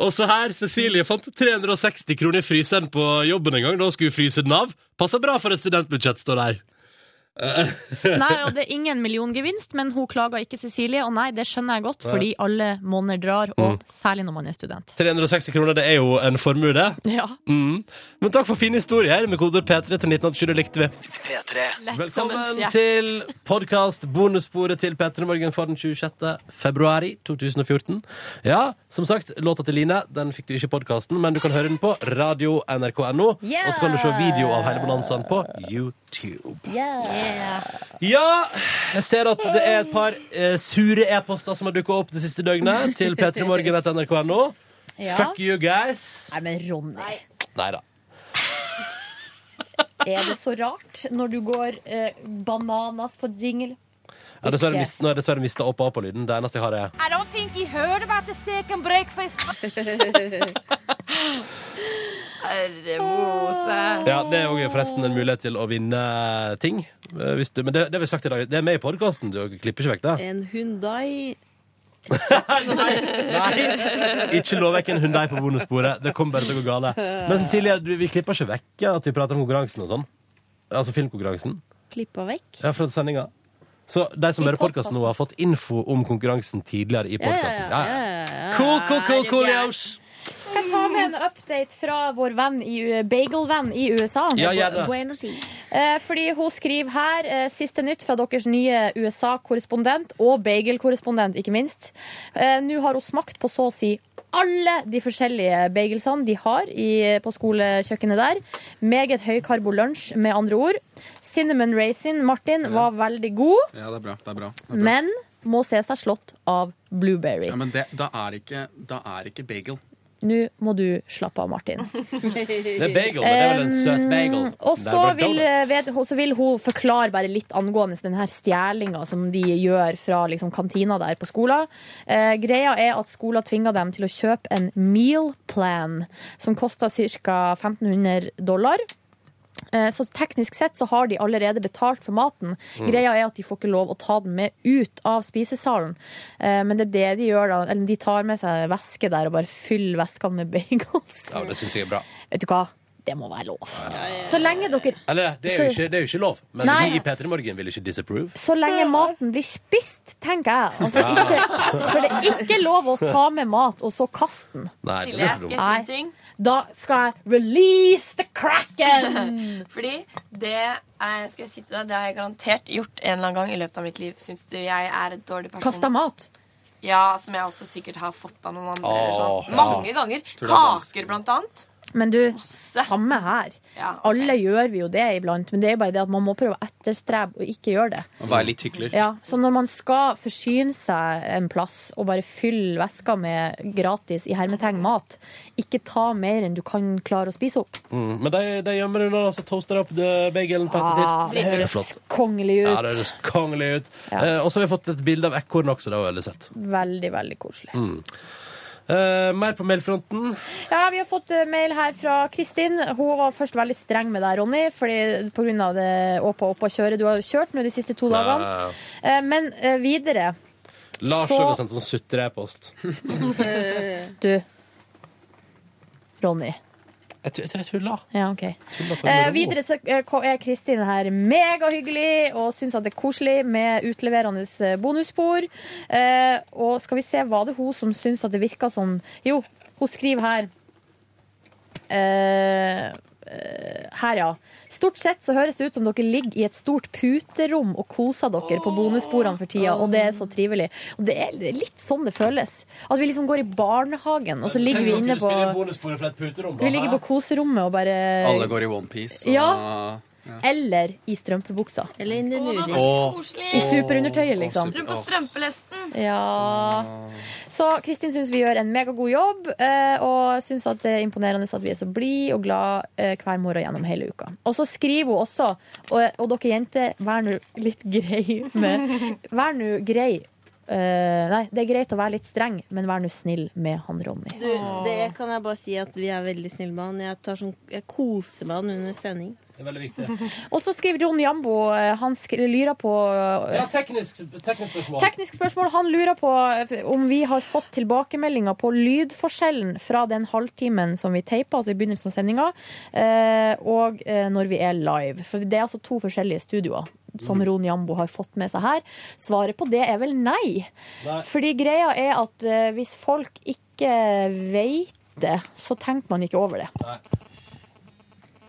Og så her, Cecilie fant 360 kroner i fryseren på jobben en gang da hun skulle fryse den av. Passer bra for et studentbudsjett, står det her. Nei, og det er ingen milliongevinst, men hun klager ikke Cecilie. Og nei, det skjønner jeg godt, fordi alle måneder drar, Mm. og særlig når man er student. 360 kroner, det er jo en formue, det. Ja. Mm. Men takk for fine historier med koder P3 til 1987, det likte vi. Velkommen til podkast bonussporet til P3 Morgen for den 26. februar 2014. Ja, som sagt, låta til Line den fikk du ikke i podkasten, men du kan høre den på radio nrk.no. Yeah! Og så kan du se video av hele bonanzaen på YouTube. Yeah. Ja, jeg ser at det er et par eh, sure e-poster som har dukket opp det siste døgnet til p3morgen.nrk.no. Ja. Fuck you guys. Nei, men Ronny. Nei da. Er det så rart når du går eh, bananas på jingle? Jeg har dessverre mist, nå har jeg dessverre mista opp på lyden Det eneste jeg har, er I don't think he heard about the second breakfast. Herre Mose. ja, Det er jo forresten en mulighet til å vinne ting. Eh, Hvis du, men det, det har vi sagt i dag. Det er med i podkasten. Du klipper ikke vekk det. En Hundai Ikke lov vekk en Hundei på bonussporet. Det kommer bare til å gå gale. Men Cecilie, du, vi klipper ikke vekk at vi prater om konkurransen og sånn. Altså filmkonkurransen. klippa vekk. Ja, fra sendinga. Så de som hører podkasten nå, har fått info om konkurransen tidligere i podkasten. Ja, ja. Cool, cool, cool, cool, Jaus. Kan jeg ta med en update fra vår venn i, bagelvenn i USA? Ja, gjør det. Buenos Aires. Eh, Fordi hun skriver her eh, siste nytt fra deres nye USA-korrespondent og bagelkorrespondent, ikke minst. Eh, Nå har hun smakt på så å si alle de forskjellige bagelsene de har i, på skolekjøkkenet der. Meget høykarbo lunsj, med andre ord. Cinnamon raisin, Martin, var veldig god. Ja, det er bra. Det er bra. Det er bra. Men må se seg slått av blueberry. ja, men det, da, er ikke, da er ikke bagel. Nå må du slappe av, Martin. Det er bagel, men det er vel en søt bagel. Um, Det Og er så bare vil, donuts. vet, og så vil hun forklare bare litt angående den her stjelinga som de gjør fra liksom, kantina der på skolen. Eh, greia er at skolen tvinger dem til å kjøpe en meal plan som koster ca. 1500 dollar. Eh, Så teknisk sett så har de allerede betalt for maten. Mm. Greia er at de får ikke lov å ta den med ut av spisesalen. Eh, Men det er det de gjør da. Eller de tar med seg væske der og bare fyller væskene med bagels. Ja, det syns jeg er bra. Vet du hva? Det må være lov. Så lenge dere Eller, det er jo ikke, det er jo ikke lov. Men Nei. vi i P3 Morgen vil ikke disapprove. så lenge maten blir spist, tenker jeg. Altså, Ja. ikke, for det er ikke lov å ta med mat og så kaste den. Nei, det blir for dumt. Da skal jeg release the kraken! Fordi det er, skal jeg si til deg, det har jeg garantert gjort en eller annen gang i løpet av mitt liv. Syns du jeg er en dårlig person? Kasta mat. Ja, som jeg også sikkert har fått av noen andre. eller Åh, sånn. ja. Mange ganger. Tror det er Kaker, blant annet. Men du, samme her. Alle gjør vi jo det iblant, men det er bare det at man må prøve å etterstrebe og ikke gjøre det. Å være litt hykler. Ja, så når man skal forsyne seg en plass og bare fylle veska med gratis i hermetegn mat, ikke ta mer enn du kan klare å spise opp. Mm. Men de, de gjemmer unna, altså toaster opp det- bagelen på Ah, ettertid. det Det er høres flott. kongelig ut. Ja, det høres kongelig ut. Eh, og så har vi fått et bilde av ekorn også. Det var veldig søtt. Veldig, veldig koselig. Mm. Eh, mer på mailfronten. Ja, Vi har fått eh, mail her fra Kristin. Hun var først veldig streng med deg, Ronny, fordi på grunn av det opp og opp og kjøre du har kjørt nå de siste to dagene. Eh, Eh, Men eh, videre Lars Så- òg har sendt sånn sutrepost. Du. Ronny. Jeg, tu- jeg tulla. Ja, OK. Tulla, tulla, Eh, tulla. videre så eh, ko- er Kristin her megahyggelig og syns at det er koselig med utleverende eh, bonusspor. Eh, og skal vi se, var det hun som syns at det virka som Jo, hun skriver her. Eh, eh, her, ja. Stort sett så høres det ut som dere ligger i et stort puterom og koser dere på bonussporene for tida, og det er så trivelig. Og det er litt sånn det føles. At vi liksom går i barnehagen, og så ligger vi inne på vi ligger på koserommet og bare Alle går i onepiece. Ja. Eller i strømpebuksa. Eller in the var så I superundertøyet, liksom. Rundt på strømpelesten. Ja. Så Kristin syns vi gjør en megagod jobb, eh, og syns at det er imponerende at vi er så blide og glad eh, hver morgen gjennom hele uka. Og så skriver hun også, og, og dere jenter, vær nå litt grei med Vær nå grei. Eh, nei, det er greit å være litt streng, men vær nå snill med han Ronny. Du, det kan jeg bare si at vi er veldig snille med han. Jeg, tar sånn, jeg koser meg han under sending. Det er veldig viktig. Og så skriver Ron Jambo, eh, han skri- lyrer på eh, Ja, teknisk, teknisk spørsmål. Teknisk spørsmål. Han lurer på eh, om vi har fått tilbakemeldinger på lydforskjellen fra den halvtimen som vi teipa, altså i begynnelsen av sendinga, eh, og eh, når vi er live. For det er altså to forskjellige studioer som Ron Jambo har fått med seg her. Svaret på det er vel nei. Nei. Fordi greia er at eh, hvis folk ikke vet det, så tenker man ikke over det.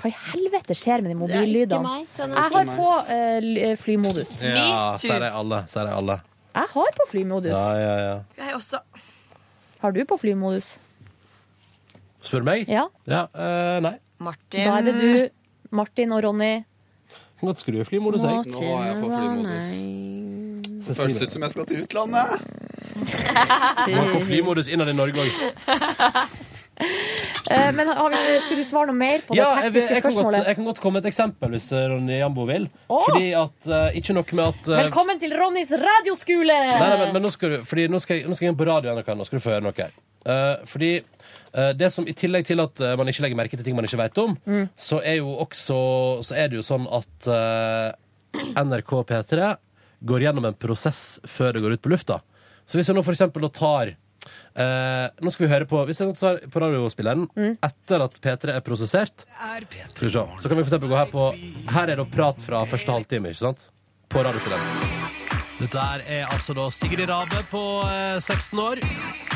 Hva i helvete skjer med de Det er ikke mobillydene? meg, kan jeg Jeg si. har på eh, l- eh, flymodus. Ja, sier de alle. Sier de alle. Jeg har på flymodus. Ja, ja, ja. Jeg også. Har du på flymodus? Spør du meg? Ja. ja eh, nei. Martin. Da er det eh, du, Martin og Ronny. Kan godt skru i flymodus, jeg. Martin, Nå er jeg på flymodus. Det føles ut som jeg skal til utlandet. Du var på flymodus innad i Norge òg. Eh, Men har vi, skulle du svare noe mer på Ja, det jeg, vil- tekniske jeg, kan godt, spørsmålet? jeg kan godt komme med et eksempel, hvis eh, Ronny Jambo vil. Åh! Fordi at eh, Ikke noe med at eh, Velkommen til Ronnys radioskole! Nei, nei, men, men nå, skal du, fordi nå, skal jeg, nå skal jeg inn på radio NRK, nå skal du få høre noe. her. Eh, fordi eh, det som I tillegg til at eh, man ikke legger merke til ting man ikke vet om, Mm. så er jo også Så er det jo sånn at eh, NRK P3 går gjennom en prosess før det går ut på lufta. Så hvis jeg nå for eksempel da tar eh, Nå skal vi høre på Hvis jeg nå tar på radiospilleren etter at P3 er prosessert, skal vi se, så kan vi for eksempel gå her på Her er det prat fra første halvtime, ikke sant? På radiospilleren. Dette her er altså da Sigrid Rabe på eh, 16 år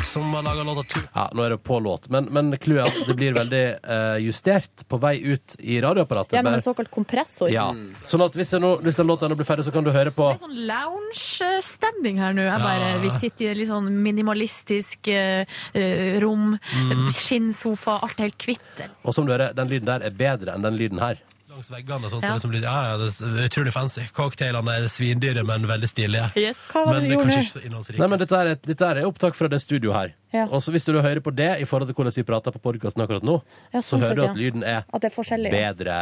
som har laga låta Tur. Ja, nå er det på låt, men, men clouet er at det blir veldig eh, justert på vei ut i radioapparatet. Gjennom Bare- en såkalt kompressor. ja. Sånn at hvis, jeg nå, hvis den låta nå blir ferdig, så kan du høre på Sånn lounge-stemning her nå. Jeg bare, Ja. Vi sitter i et litt sånn minimalistisk eh, eh, rom. Mm. Skinnsofa, alt er helt hvitt. Og som du hører, den lyden der er bedre enn den lyden her. Langs veggene og Ja. sånt. Det er liksom litt, ja, ja, det er utrolig fancy. Cocktailene er svindyre, men veldig stilige. Yes. Men kanskje ikke så innholdsrike. Nei, men dette er, et- dette er et opptak fra det studio her. Ja. Og så hvis du da hører på det i forhold til hvordan vi prater på podkasten akkurat nå, Ja, så sånn hører sett, du at ja. lyden er At det er forskjellig. ja. bedre.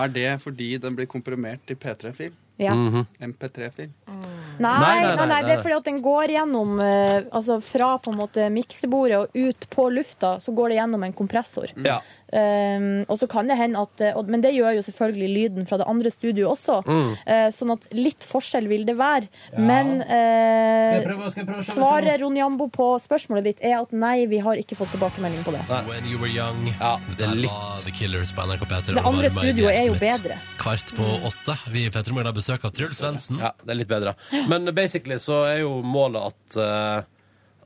Er det fordi den blir komprimert i P3-fil? Ja. Mm. Mhm. MP3-fil? Nei, nei, nei, nei, det nei. er fordi at den går gjennom eh, Altså fra på en måte miksebordet og ut på lufta, så går det gjennom en kompressor. Ja. Um, og så kan det hende at eh, og, Men det gjør jo selvfølgelig lyden fra det andre studioet også. Mm. Eh, sånn at litt forskjell vil det være. Men eh, Skal jeg prøve- skal jeg prøve å se hvis det sånn? svaret Ronjambo på spørsmålet ditt er at nei, vi har ikke fått tilbakemelding på det. When you were young. Ja, det er litt. The Killers på NRK P3. Det andre studioet er jo bedre. Kvart på åtte. Vi i P3 Morgen har besøk av Truls Svendsen. Ja, det er litt bedre. Men basically så er jo målet at eh,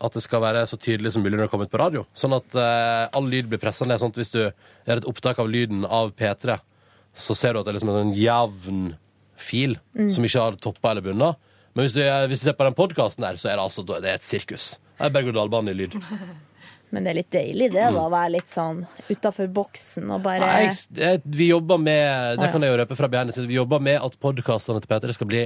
at det skal være så tydelig som mulig når det kommer ut på radio. Sånn at eh, all lyd blir pressa ned. Sånn at hvis du gjør et opptak av lyden av P3, så ser du at det er liksom en sånn jevn fil Mm. som ikke har toppa eller bunna. Men hvis du, hvis du ser på den podkasten der, så er det altså det er et sirkus. Det er berg-og-dal-bane i lyd. Men det er litt deilig det, da. å Være litt sånn utafor boksen og bare Nei, jeg, jeg, vi jobber med Å, Det ja. kan jeg jo røpe fra behind the scenes, Vi jobber med at podkastene til P3 skal bli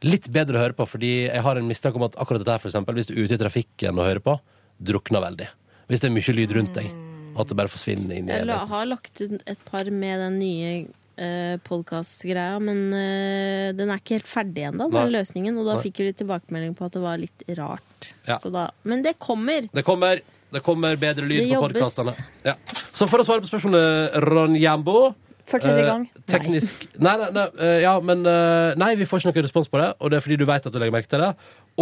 litt bedre å høre på. Fordi jeg har en mistanke om at akkurat dette her, for eksempel, hvis du er ute i trafikken og hører på, drukner veldig. Hvis det er mye lyd rundt deg. Og at det bare forsvinner inn i Jeg la, evigheten. har lagt ut et par med den nye uh, podkastgreia, men eh, den er ikke helt ferdig ennå, den Nei. løsningen. Og da Nei. fikk vi litt tilbakemelding på at det var litt rart. Ja. Så da, men det kommer! Det kommer, det kommer bedre lyd Det på jobbes. podkastene. Ja. Så for å svare på spørsmålet, Ron Jambo For tredje gang. Eh, teknisk Nei, nei, nei, eh, ja, men eh, Nei, vi får ikke noe respons på det, og det er fordi du vet at du legger merke til det.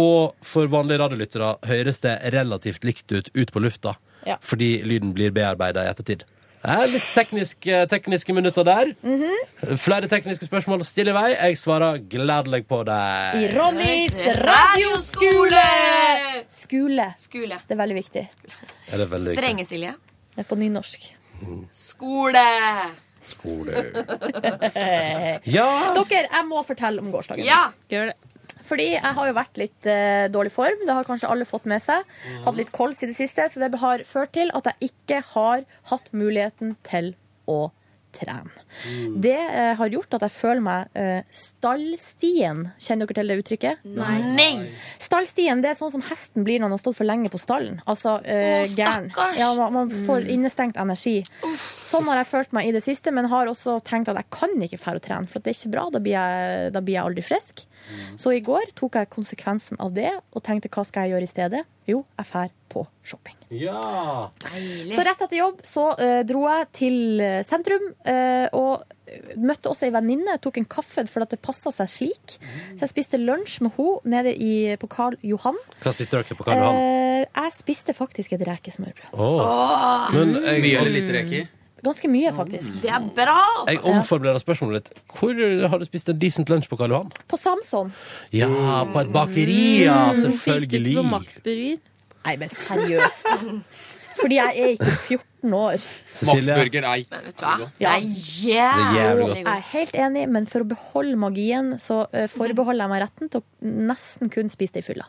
Og for vanlige radiolyttere høres det relativt likt ut ut på lufta, Ja. fordi lyden blir bearbeida i ettertid. Det er litt teknisk, eh, tekniske minutter der. Flere tekniske spørsmål stiller i vei. Jeg svarer gledelig på I det. Ronnys radioskole! Skole. Det er veldig viktig. Er det veldig Strenge Silje. Det er på nynorsk. Skole! Ja. Dere, jeg må fortelle om gårsdagen. Ja, gjør det. Fordi jeg har jo vært litt eh, dårlig form. Det har kanskje alle fått med seg. Hatt litt kols i det siste, så det har ført til at jeg ikke har hatt muligheten til å trene. Det eh, har gjort at jeg føler meg eh, stallstien. Kjenner dere til det uttrykket? Nei. Stallstien det er sånn som hesten blir når han har stått for lenge på stallen. Altså eh, Å, gæren. stakkars. Mm. Ja, man, man får innestengt energi. Sånn har jeg følt meg i det siste, men har også tenkt at jeg kan ikke fære å trene, for at det er ikke bra. Da blir jeg, da blir jeg aldri frisk. Så i går tok jeg konsekvensen av det og tenkte hva skal jeg gjøre i stedet? Jo, jeg fær på shopping. Ja. Så rett etter jobb så eh, dro jeg til eh, sentrum eh, og møtte også ei venninne. Tok en kaffe for at det passa seg slik. Så jeg spiste lunsj med henne nede i, på Karl Johan. Hva spiste dere på Karl Johan? Eh, jeg spiste faktisk et rekesmørbrød. Åh. Men jeg- Mye eller lite reker? Ganske mye, faktisk. Det er bra! altså. Jeg omformulerer spørsmålet ditt. Hvor har du spist en decent lunsj på Karl Johan? Mm. På Samson. Ja, på et bakeri, ja! Mm. Selvfølgelig. Fikk du på Maxburger? Nei, men seriøst. Fordi jeg er ikke 14 år. Maxburger, nei. Men vet du hva? Det Ja. er jævlig godt. Jeg er helt enig, men for å beholde magien, så eh, forbeholder jeg meg retten til å nesten kun spise det i fylla.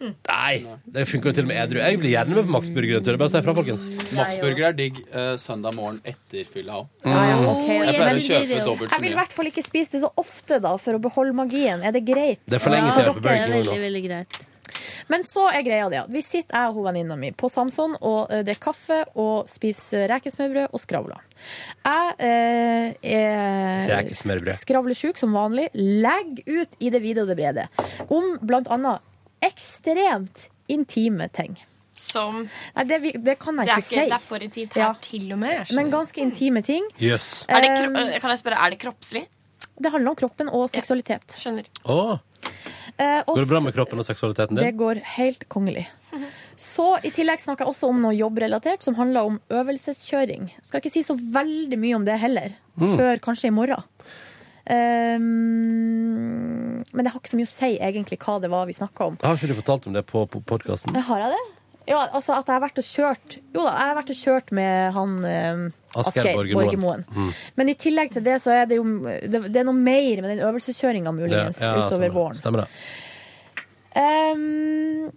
Nei, det funker jo til og med edru. Jeg blir gjerne med på Max Burger en tur. Bare si ifra, folkens. Maxburger er digg eh, søndag morgen etter fylla òg. Ja, ja, ok. Jeg pleier å kjøpe dobbelt så Jeg vil i mye. hvert fall ikke spise det så ofte, da, for å beholde magien. Er det greit? Det er for lenge Ja, siden jeg var på Burger dere King nå. er veldig, veldig greit. Men så er greia det at vi sitter, jeg og hun venninna mi, på Samson og eh, drikker kaffe og spiser rekesmørbrød og skravler. Jeg eh, er Rekesmørbrød. skravlesjuk som vanlig. Legger ut i det vide og det brede om blant annet ekstremt intime ting. Som Nei, det, vi- det kan jeg Det er ikke, ikke- si. det er for intimt her til og med, jeg skjønner. Men ganske intime ting. Jøss. Yes. Er det kro Um, kan jeg spørre, er det kroppslig? Det handler om kroppen og seksualitet. skjønner. Å, Eh, og Går det bra med kroppen og seksualiteten Det din? går helt kongelig. Så I tillegg snakker jeg også om noe jobbrelatert som handler om øvelseskjøring. Skal ikke si så veldig mye om det heller, Mm. før kanskje i morgen. Ehm, men det har ikke så mye å si egentlig hva det var vi snakka om. Har ikke du fortalt om det på podkasten? Eh, Har jeg det? Ja, altså at jeg har vært og kjørt Jo da, jeg har vært og kjørt med han eh, Asgeir Borgermoen. Mm. Men i tillegg til det så er det jo det, det er noe mer med den øvelseskjøringa muligens Ja, ja, utover stemmer. våren. Stemmer det. Ehm,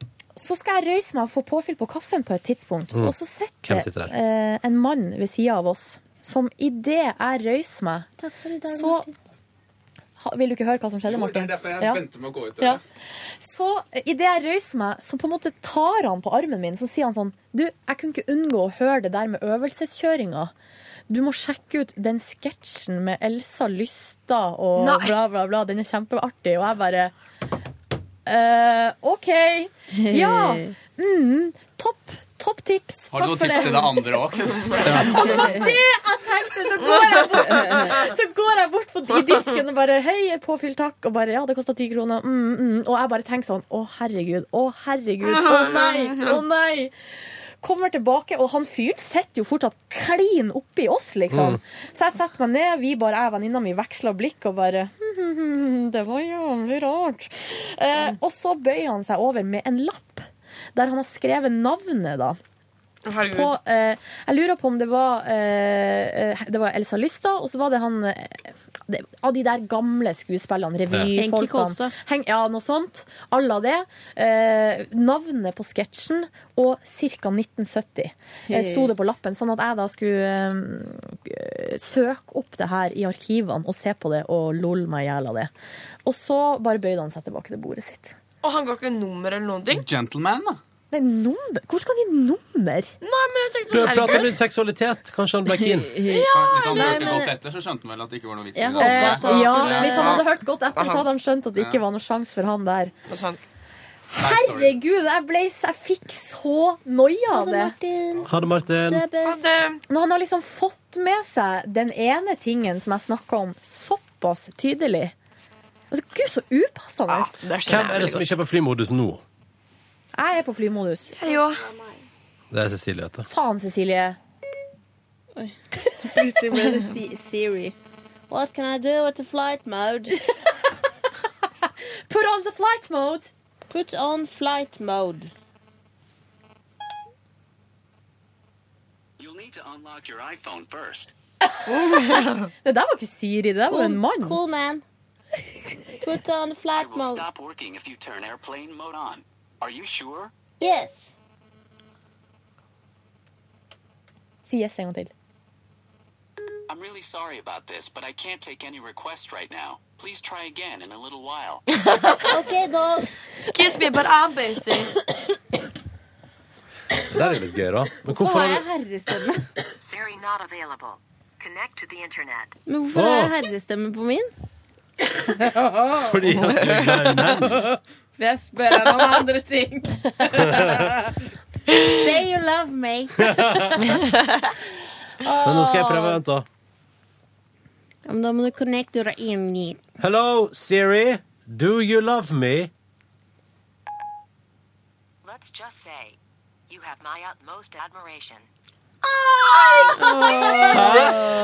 så skal jeg røyse meg og få påfyll på kaffen på et tidspunkt. Mm. Og så sitter, Hvem sitter der? eh, en mann ved sida av oss som idet jeg røyser meg, så ha, Vil du ikke høre hva som Jo, det skjedde, Martin? er derfor jeg Ja. venter med å gå ut Ja. døra. Så idet jeg røyser meg, så på en måte tar han på armen min så sier han sånn Du, jeg kunne ikke unngå å høre det der med øvelseskjøringa. Du må sjekke ut den sketsjen med Elsa Lystad og Nei. bla, bla, bla. Den er kjempeartig. Og jeg bare «Eh, OK. Ja. Mm, topp. Topp tips. Har du Takk noen for tips til det andre òg? og det var det jeg tenkte! Så går jeg bort, så går jeg bort på i disken og bare Hei, påfyll takk. Og bare Ja, det kosta ti kroner. Mm, mm. Og jeg bare tenker sånn Å, herregud. Å, herregud. Å nei. Å nei. Kommer tilbake, og han fyren sitter jo fortsatt klin oppi oss, liksom. Mm. Så jeg setter meg ned, vi bare, jeg og venninna mi veksler blikk og bare «Hm, hm, hm, Det var jævlig rart. Eh, og så bøyer han seg over med en lapp der han har skrevet navnet, da. Herregud. På, eh, jeg lurer på om det var, eh, eh, det var Elsa Lystad, og så var det han eh, det, Av de der gamle skuespillerne, Ja. Henki revyfolkene. Kolstad. Hen- Ja, noe sånt. Alla det. Eh, navnet på sketsjen og ca. 1970 eh, sto det på lappen, sånn at jeg da skulle eh, søke opp det her i arkivene og se på det og lol meg i hjel av det. Og så bare bøyde han seg tilbake til bordet sitt. Og han ga ikke nummer eller noen ting? Gentleman, da. Det er nummer. Hvor skal de nummer? Nei, men jeg tenkte Du sånn, har prata om herregud. din seksualitet. Kanskje han backer inn? Hvis han nei, hørte men- godt etter, så skjønte han vel at det ikke var noe vits i Jeg det. håper at han, Eh, ja, Ja. hvis han hadde hørt godt etter, så hadde han skjønt at det ikke var noen sjanse for han der. Herregud, jeg, ble, jeg fikk så noia av det. Ha det, Martin. Når han har liksom fått med seg den ene tingen som jeg snakka om, såpass tydelig altså, Gud, så upassende. Hvem er det som ikke er på flymodus nå? Jeg er på flymodus. Det er Cecilie, vet du. Faen, Cecilie. Plutselig ble det Si- Siri. What can I do with the flight mode? Put on the flight mode. Put on flight mode. You'll need to unlock your iPhone first. Det der var ikke Siri, det der var en mann. Cool man. Put on It flight will mode. stop working if you turn airplane mode on. Are you sure? Yes. Si yes en gang til. I'm really sorry about this, but I can't take any requests right now. Please try again in a little while. Okay, dog. Excuse me, but I'm busy. Det der er litt gøy, da. Men Hvorfor hvorfor har har jeg du herrestemme? Siri not available. Connect to the internet. Men hvorfor har jeg herrestemme på min? Fordi at du er glad i menn. For jeg spør henne om andre ting. Say you love me. Men nå skal jeg prøve. Vent, da. Ja, men da må du connect your ear. Hello, Siri. Do you love me? Let's just say, you have my utmost admiration.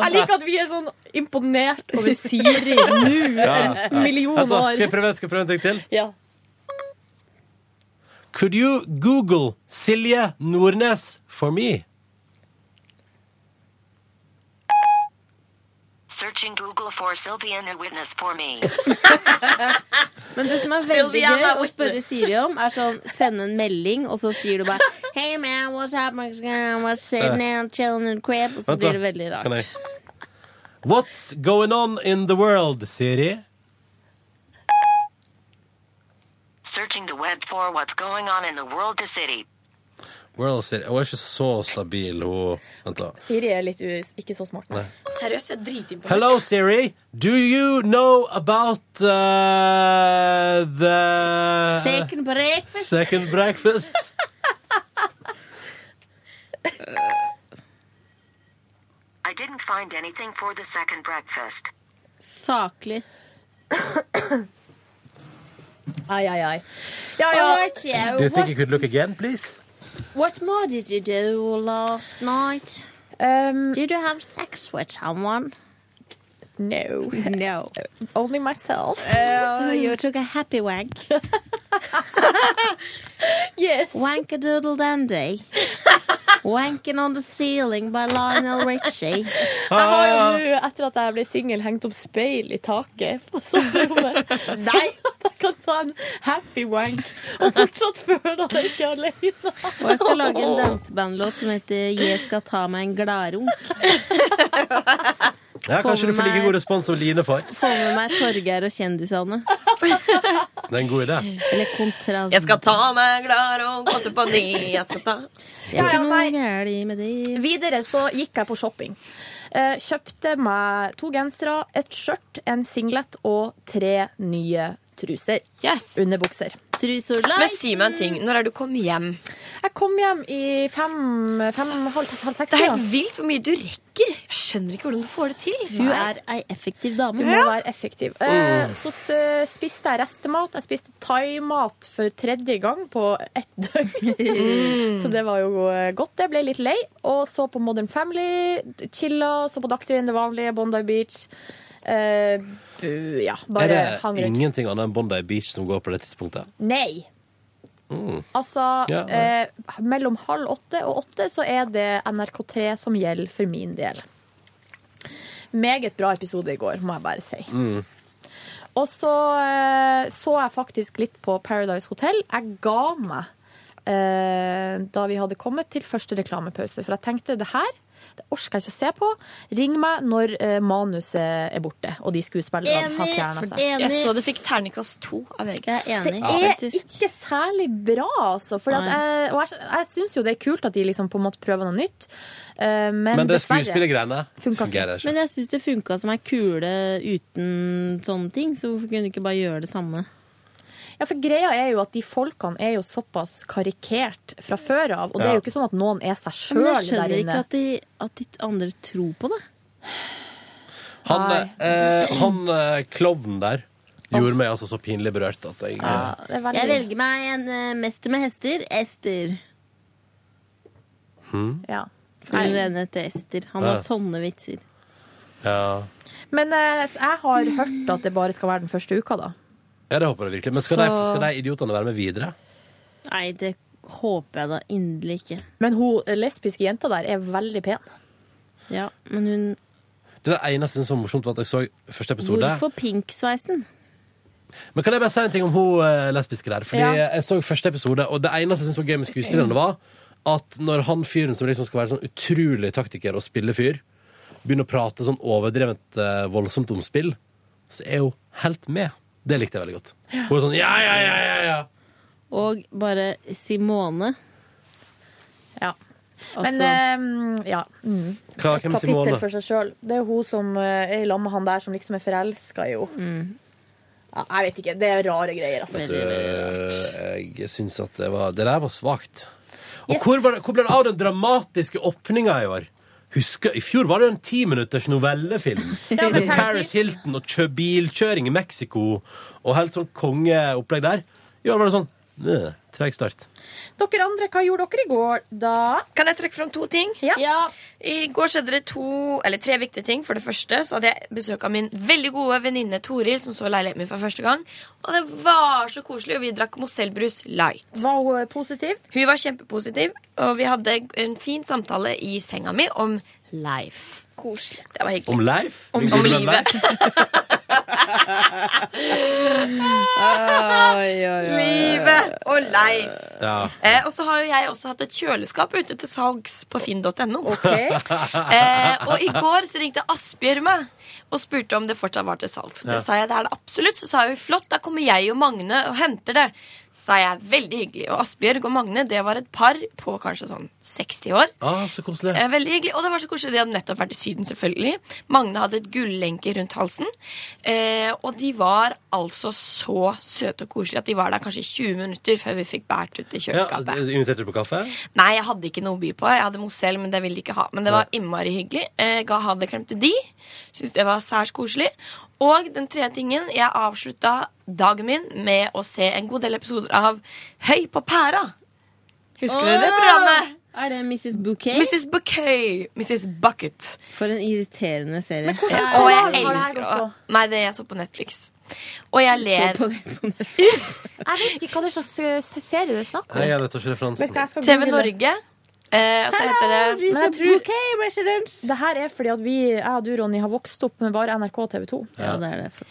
Jeg liker at vi er sånn imponert over Siri nå, en million Skal jeg år. prøve, skal jeg prøve en ting til? Ja. Could you Google Silje Nordnes for me? Searching Google for Sylvian a witness for me. Men det som er veldig Sylvia, gøy my å spørre Siri om, er sånn sende en melding, og så sier du bare Hey man, what's up, Mexican? What's sitting down, chilling in the crib? Og så Vent da. blir det veldig Kan jeg- rart. What's going on in the world, Siri? Searching the web for what's going on in the world to city. World Siri. Hun er ikke så stabil, hun. Vent da. Siri er litt u- ikke så smart. Nei. Seriøst, jeg er dritimponert. Hello, Siri. Do you know about uh, the Second breakfast. second breakfast? I didn't find anything for the second breakfast. Saklig. Ai, ai, ai. Ja, ja. Do you think you could look again, please? What more did you do last night? Ehm, did you have sex with someone? No. Eh, No. Only myself. Oh, you took a happy wank. yes. Wank a doodle dandy. Wanking on the ceiling by Lionel Richie. Jeg har jo nå, etter at jeg ble singel, hengt opp speil i taket på soverommet. Sånn at jeg kan ta en happy wank og fortsatt føle at jeg ikke er alene. Og jeg skal lage en dansebandlåt som heter 'Jeg skal ta meg en gladrunk'. Ja, kanskje du får like god respons som Line får. Få med meg Torgeir og kjendisene. Det er en god idé. Eller kontrast. Jeg skal ta meg glad og gå til på ny. Jeg skal ta Det er Ja, ja, ikke noe gærent med det. Videre så gikk jeg på shopping. Eh, kjøpte meg to gensere, et skjørt, en singlet og tre nye truser. Yes. Underbukser. Truser Men si meg en ting. Når er du kom hjem? Jeg kom hjem i fem, fem halv, halv seks. Det er ja. helt vilt hvor mye du rekker. Jeg skjønner ikke hvordan du får det til. Du er ei effektiv dame. Du må Ja. være effektiv. Eh, Mm. Så s- spiste jeg restemat. Jeg spiste thaimat for tredje gang på ett døgn. Mm. Så det var jo godt. Jeg ble litt lei. Og så på Modern Family, chilla, så på Dagsrevyen det vanlige, Bondi Beach. Eh, bu, ja, bare er hang det rundt. ingenting annet enn Bondi Beach som går på det tidspunktet? Nei! Mm. Altså, Ja, ja. eh, mellom halv åtte og åtte så er det NRK3 som gjelder for min del. Meget bra episode i går, må jeg bare si. Mm. Og så eh, så jeg faktisk litt på Paradise Hotel. Jeg ga meg eh, da vi hadde kommet til første reklamepause, for jeg tenkte det her det orker jeg ikke å se på. Ring meg når eh, manuset er borte og de skuespillerne har fjerna altså. seg. Jeg så du fikk terningkast to av VG. Jeg er enig. Det er faktisk. ikke særlig bra, altså. Fordi at jeg, og jeg, jeg syns jo det er kult at de liksom på en måte prøver noe nytt, eh, men, Men det dessverre- skuespillergreiene Funka fungerer ikke. Men jeg syns det funka som ei kule uten sånne ting, så hvorfor kunne du ikke bare gjøre det samme? Ja, for greia er jo at de folkene er jo såpass karikert fra før av, og det er Ja. jo ikke sånn at noen er seg Men sjøl jeg skjønner der ikke inne. at de, at de andre tror på det. Han, eh, han eh, klovnen der gjorde meg altså så pinlig berørt at jeg Ja, eh, Jeg velger meg en eh, mester med hester, Ester. hm? Ja. For hun ene heter Ester. Han Ja. har sånne vitser. ja. Men eh, jeg har hørt at det bare skal være den første uka, da. ja, det håper jeg virkelig. Men skal, Så- de, skal de idiotene være med videre? Nei, det håper jeg da inderlig ikke. Men hun lesbiske jenta der er veldig pen. Ja, men hun Det er det eneste jeg synes var morsomt, var at jeg så første episode. Hvorfor pink-sveisen? Men kan jeg bare si en ting om hun eh, lesbiske der? Fordi Ja. jeg så første episode, og det eneste jeg syntes var gøy med skuespillerne, var at når han fyren som liksom skal være sånn utrolig taktiker og spille fyr, begynner å prate sånn overdrevent eh, voldsomt om spill, så er hun helt med. Det likte jeg veldig godt. Hun er sånn ja, ja, ja, ja, ja. Og bare Simone. Ja. Altså, Men eh, ja. Mm. Hva, Et hvem er Simone? kapittel for seg sjøl. Det er hun som eh, er i lag med han der som liksom er forelska i henne. Ja, jeg vet ikke. Det er rare greier, altså. Vet du, eh, jeg syns at det var Det der var svakt. Og hvor, var det, hvor ble det av den dramatiske åpninga i år? Husker, I fjor var det jo en timinutters novellefilm. Ja, med med Paris Paris Hilton og kjø, bilkjøring i Mexico og helt sånn kongeopplegg der. I år var det sånn Nø, Treg start. Dere andre, hva gjorde dere i går, da? Kan jeg trekke fram to ting? Ja. I går skjedde det to, eller tre viktige ting. For det første så hadde jeg besøk av min veldig gode venninne Toril, som så leiligheten min for første gang. Og det var så koselig, og vi drakk Mosellbrus light. Var hun eh, positiv? Hun var kjempepositiv, og vi hadde en fin samtale i senga mi om life. Koselig. Det var hyggelig. Om Leif? Om, Ligger om du med livet. Livet og life. Ja. Eh, og så har jo jeg også hatt et kjøleskap ute til salgs på finn.no. eh, Eh, og i går så ringte Asbjørn meg og spurte om det fortsatt var til salgs. Og Ja. det sa jeg det er det absolutt. Så sa hun flott, da kommer jeg og Magne og henter det. Sa jeg veldig hyggelig. Og Asbjørg og Magne det var et par på kanskje sånn 60 år. Ah, så koselig. Eh, veldig hyggelig. Og det var så koselig. De hadde nettopp vært i Syden, selvfølgelig. Magne hadde et gullenke rundt halsen. Eh, og de var altså så søte og koselige at de var der kanskje i 20 minutter før vi fikk båret ut i kjøleskapet. Ja, altså, inviterte du på kaffe? Nei, jeg hadde ikke noe å by på. Jeg hadde Mozell, men det ville de ikke ha. Men det var innmari hyggelig. Eh, ga ha det klem til de. Syns det var særs koselig. Og den tredje tingen, jeg avslutta dagen min med å se en god del episoder av Høy på pæra. Husker dere det Åh! programmet? Er det Mrs. Bouquet? Mrs. Bouquet. Mrs. Bucket. For en irriterende serie. Ja, og jeg elsker å Nei, det jeg så på Netflix. Og jeg ler. Så på Jeg vet ikke hva det er slags eh, serie det er snakk om. Nei, jeg vet ikke referansen. TV Norge. Eh, og så heter det Men jeg tror- Det her er fordi at vi, jeg og du, Ronny, har vokst opp med bare NRK og TV 2. Ja, det er det.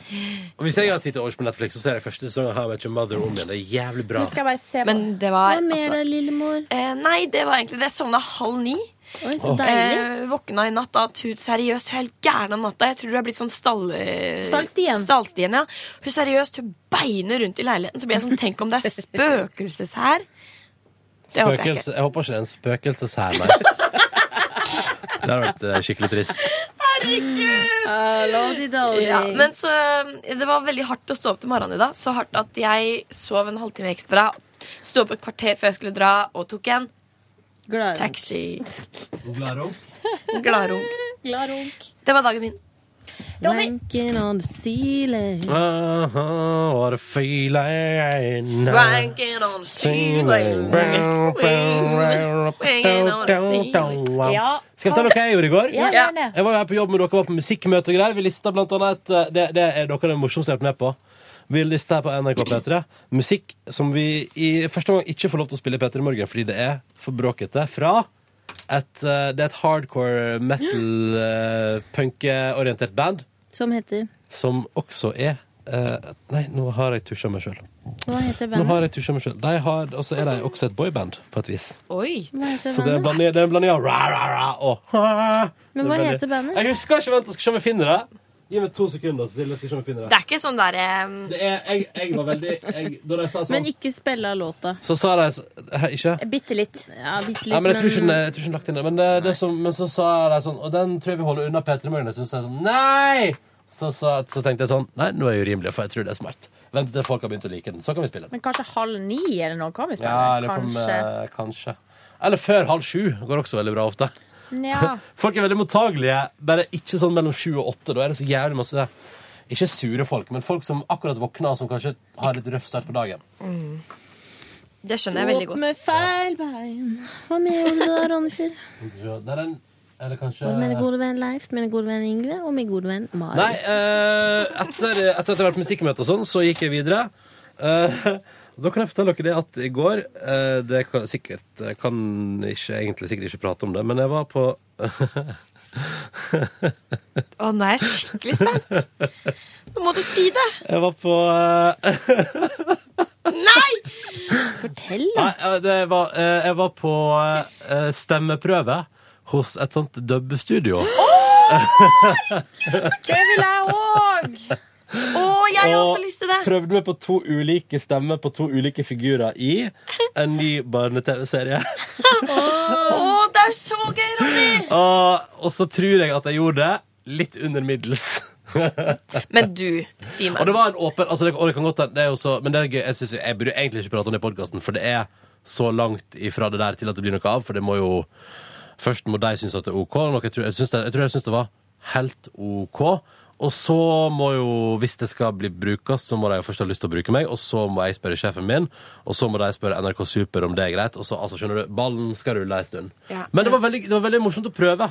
Og hvis jeg har tid til overs på Netflix, så ser jeg første sesong av How I Met Your Mother om igjen. Det er jævlig bra. Nå skal Men det var Hva mer da, lillemor? Eh, nei, det var egentlig det. Jeg sovna halv ni. så deilig. våkna i natt av at hun seriøst hun er helt gæren om natta. Jeg tror hun er blitt sånn stall... eh, Stallstien. Stallstien, ja. Hun seriøst, hun beiner rundt i leiligheten. Så blir jeg sånn, tenk om det er spøkelses her. Det håper jeg Spøkelse. ikke. Jeg håper ikke det er en spøkelseshær, nei. Det har vært eh, skikkelig trist. Herregud! Lordy-dolly. Ja, men så eh, Det var veldig hardt å stå opp til morgenen i dag. Så hardt at jeg sov en halvtime ekstra. Sto opp et kvarter før jeg skulle dra, og tok en taxi. Gladrunk. Det var dagen min. Wanking on the ceiling. Ah, Aha, what a feeling. Wanking on the ceiling. Wanking on the ceiling. Ja. Skal jeg fortelle hva jeg gjorde i går? Ja, gjerne. Jeg var jo her på jobb med dere, var på musikkmøte og greier. Vi lista blant annet et Det, det er dere det morsomste jeg har vært med på. Vi lista her på NRK P3 musikk som vi i første omgang ikke får lov til å spille i P3 Morgen fordi det er for bråkete. Fra et, eh, det er et hardcore metal-punk-orientert band Som heter som også er eh, Nei, nå har jeg tusja meg sjøl. Hva heter Nå bandet? har jeg tusja meg selv. De har, og så er de også et boyband, på et vis. Oi. Hva heter Så det er en bandet? blanding- det er en blanding av ra, ra, ra og ha. Men Det er hva veldig- heter bandet? Jeg husker ikke, vent, jeg skal se om jeg finner det. Gi meg to sekunder, Cecilie, skal jeg se om jeg finner Det det. er ikke sånn derre Det er jeg, jeg var veldig jeg, Da de sa sånn, Men ikke spille av låta. så sa de så- Hæ, Ikke? Bitte litt. Ja, bitte litt Ja, men jeg tror ikke den er- jeg tror ikke den er lagt inn der. Men, det, det som, men så sa de sånn Og den tror jeg vi holder unna P3 Morgen. Jeg synes jeg sånn Nei! Så, sa- så tenkte jeg sånn Nei, nå er jeg urimelig, for jeg tror det er smart. Vent til folk har begynt å like den. Så kan vi spille den. Men kanskje halv ni eller noe kan vi spille? Ja, eller eh, kanskje. Kanskje. kanskje. Eller før halv sju går også veldig bra ofte. Nja. Folk er veldig mottagelige, bare ikke sånn mellom sju og åtte. Da er det så jævlig masse Ikke sure folk, men folk som akkurat våkner, som kanskje har litt røff start på dagen. Det skjønner jeg veldig Opp godt. med feil bein. Hva mer gjorde du da, Ronnefyr? Det er en Eller kanskje Med min gode venn Leif, min gode venn Yngve og min gode venn Mari. Nei, eh, etter, etter at det har vært musikkmøte og sånn, så gikk jeg videre. Eh, da kan jeg fortelle dere det at i går eh, Det kan, sikkert jeg kan ikke, egentlig sikkert ikke prate om det, men jeg var på Å, nå er jeg skikkelig spent. Nå må du si det! Jeg var på eh, Nei! Fortell, Nei, eh, det var, eh, jeg var på eh, stemmeprøve hos et sånt dubbestudio. Det vil jeg òg! Å, jeg har også lyst til det. prøvde meg på to ulike stemmer på to ulike figurer i en ny barne-TV-serie. Å, det er så gøy, Ronny! Og, og så tror jeg at jeg gjorde det litt under middels. Men du, si meg Og det var en åpen altså det, og det kan godt, hende- det er jo så, Men det er gøy, jeg, synes, jeg burde egentlig ikke prate om det i podkasten, for det er så langt ifra det der til at det blir noe av. For det må jo Først må de synes at det er OK. Nok jeg, tror, jeg, synes det, jeg tror jeg synes det var helt OK. Og så må jo, hvis det skal bli brukes, så må de jo først ha lyst til å bruke meg, og så må jeg spørre sjefen min, og så må de spørre NRK Super om det er greit, og så, altså, skjønner du, ballen skal rulle en stund. Ja. Men det var, veldig, det var veldig morsomt å prøve.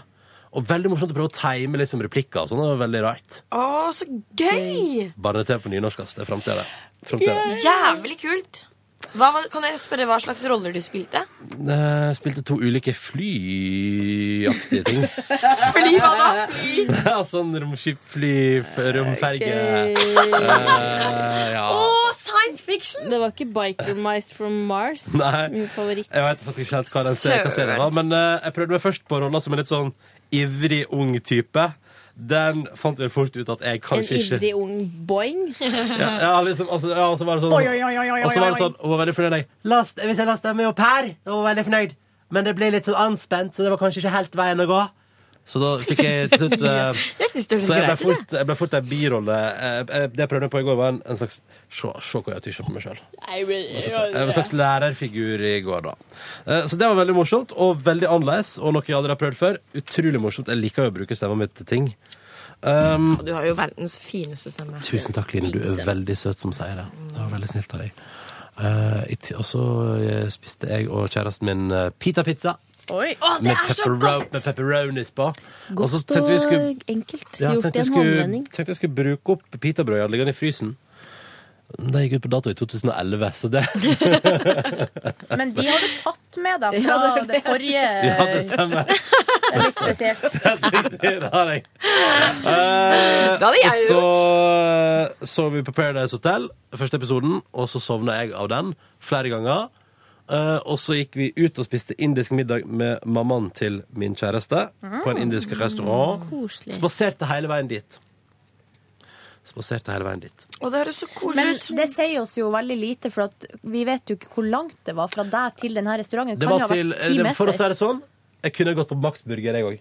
Og veldig morsomt å prøve å time liksom replikker og sånn. Det var veldig rart. Å, så gøy! Barne-TV på nynorsk, ass. Det er framtida, det. Framtida. Jævlig kult. Hva, var- kan jeg spørre hva slags roller du spilte? Eh, Spilte to ulike flyaktige ting. Fly, hva da? Fly? Ja, sånn romskip, fly, f- romferge Ok. Eh, Ja. science fiction! Det var ikke Biker Mice from Mars. Nei. Min favoritt. Jeg vet faktisk ikke helt hva den serien, hva serien var, men eh, jeg prøvde meg først på rolla som en litt sånn ivrig ung type. Den fant vel fort ut at jeg En kanskje ikke ivrig ung boing. ja, ja, liksom, altså, ja, og så var det sånn Oi, oi, oi, oi, oi, Og så var oi. det sånn, hun var veldig fornøyd jeg, «Last- Hvis jeg lasta med opp her, da var hun veldig fornøyd Men det ble litt sånn anspent, så det var kanskje ikke helt veien å gå Så da fikk jeg til slutt eh, Jeg synes det høres Så jeg ble greit ut, fort, jeg ble fort en birolle Eh, eh, Det jeg prøvde på i går var en, en slags Se se hva jeg tysjer på meg selv jeg var en slags lærerfigur i går, da. Eh, Så det var veldig morsomt, og veldig annerledes, og noe jeg aldri har prøvd før. Utrolig morsomt. Jeg liker jo å bruke stemmen min til ting. Um, Du har jo verdens fineste stemme. Tusen takk, Line. Du er veldig søt som sier det. Det var veldig snilt av deg. Eh, i ti- og så eh, spiste jeg og kjæresten min eh, pita-pizza. Oi. Å, det Med, er så peppero- godt! med pepperonis på. Og så Godt tenkte vi skulle- og enkelt Ja, gjort tenkte i jeg en skulle- håndvending. Tenkte jeg skulle bruke opp pitabrødet jeg hadde liggende i frysen. Det gikk ut på dato i 2011, så det Men de har du tatt med deg fra Ja, det er det det. forrige. Ja, det stemmer. Det er litt spesielt. Det har jeg. Eh, Det hadde jeg og så eh, så vi på Paradise Hotel, første episoden, og så sovna jeg av den flere ganger. Eh, og så gikk vi ut og spiste indisk middag med mammaen til min kjæreste på en indisk Ah, restaurant. Koselig. Spaserte hele veien dit. Spaserte hele veien dit. Og det høres så koselig Men ut. det sier oss jo veldig lite, for at vi vet jo ikke hvor langt det var fra deg til denne restauranten. Det kan var jo ha til, vært ti eh, det, for å si meter. det sånn, jeg kunne gått på Max Burger, jeg òg.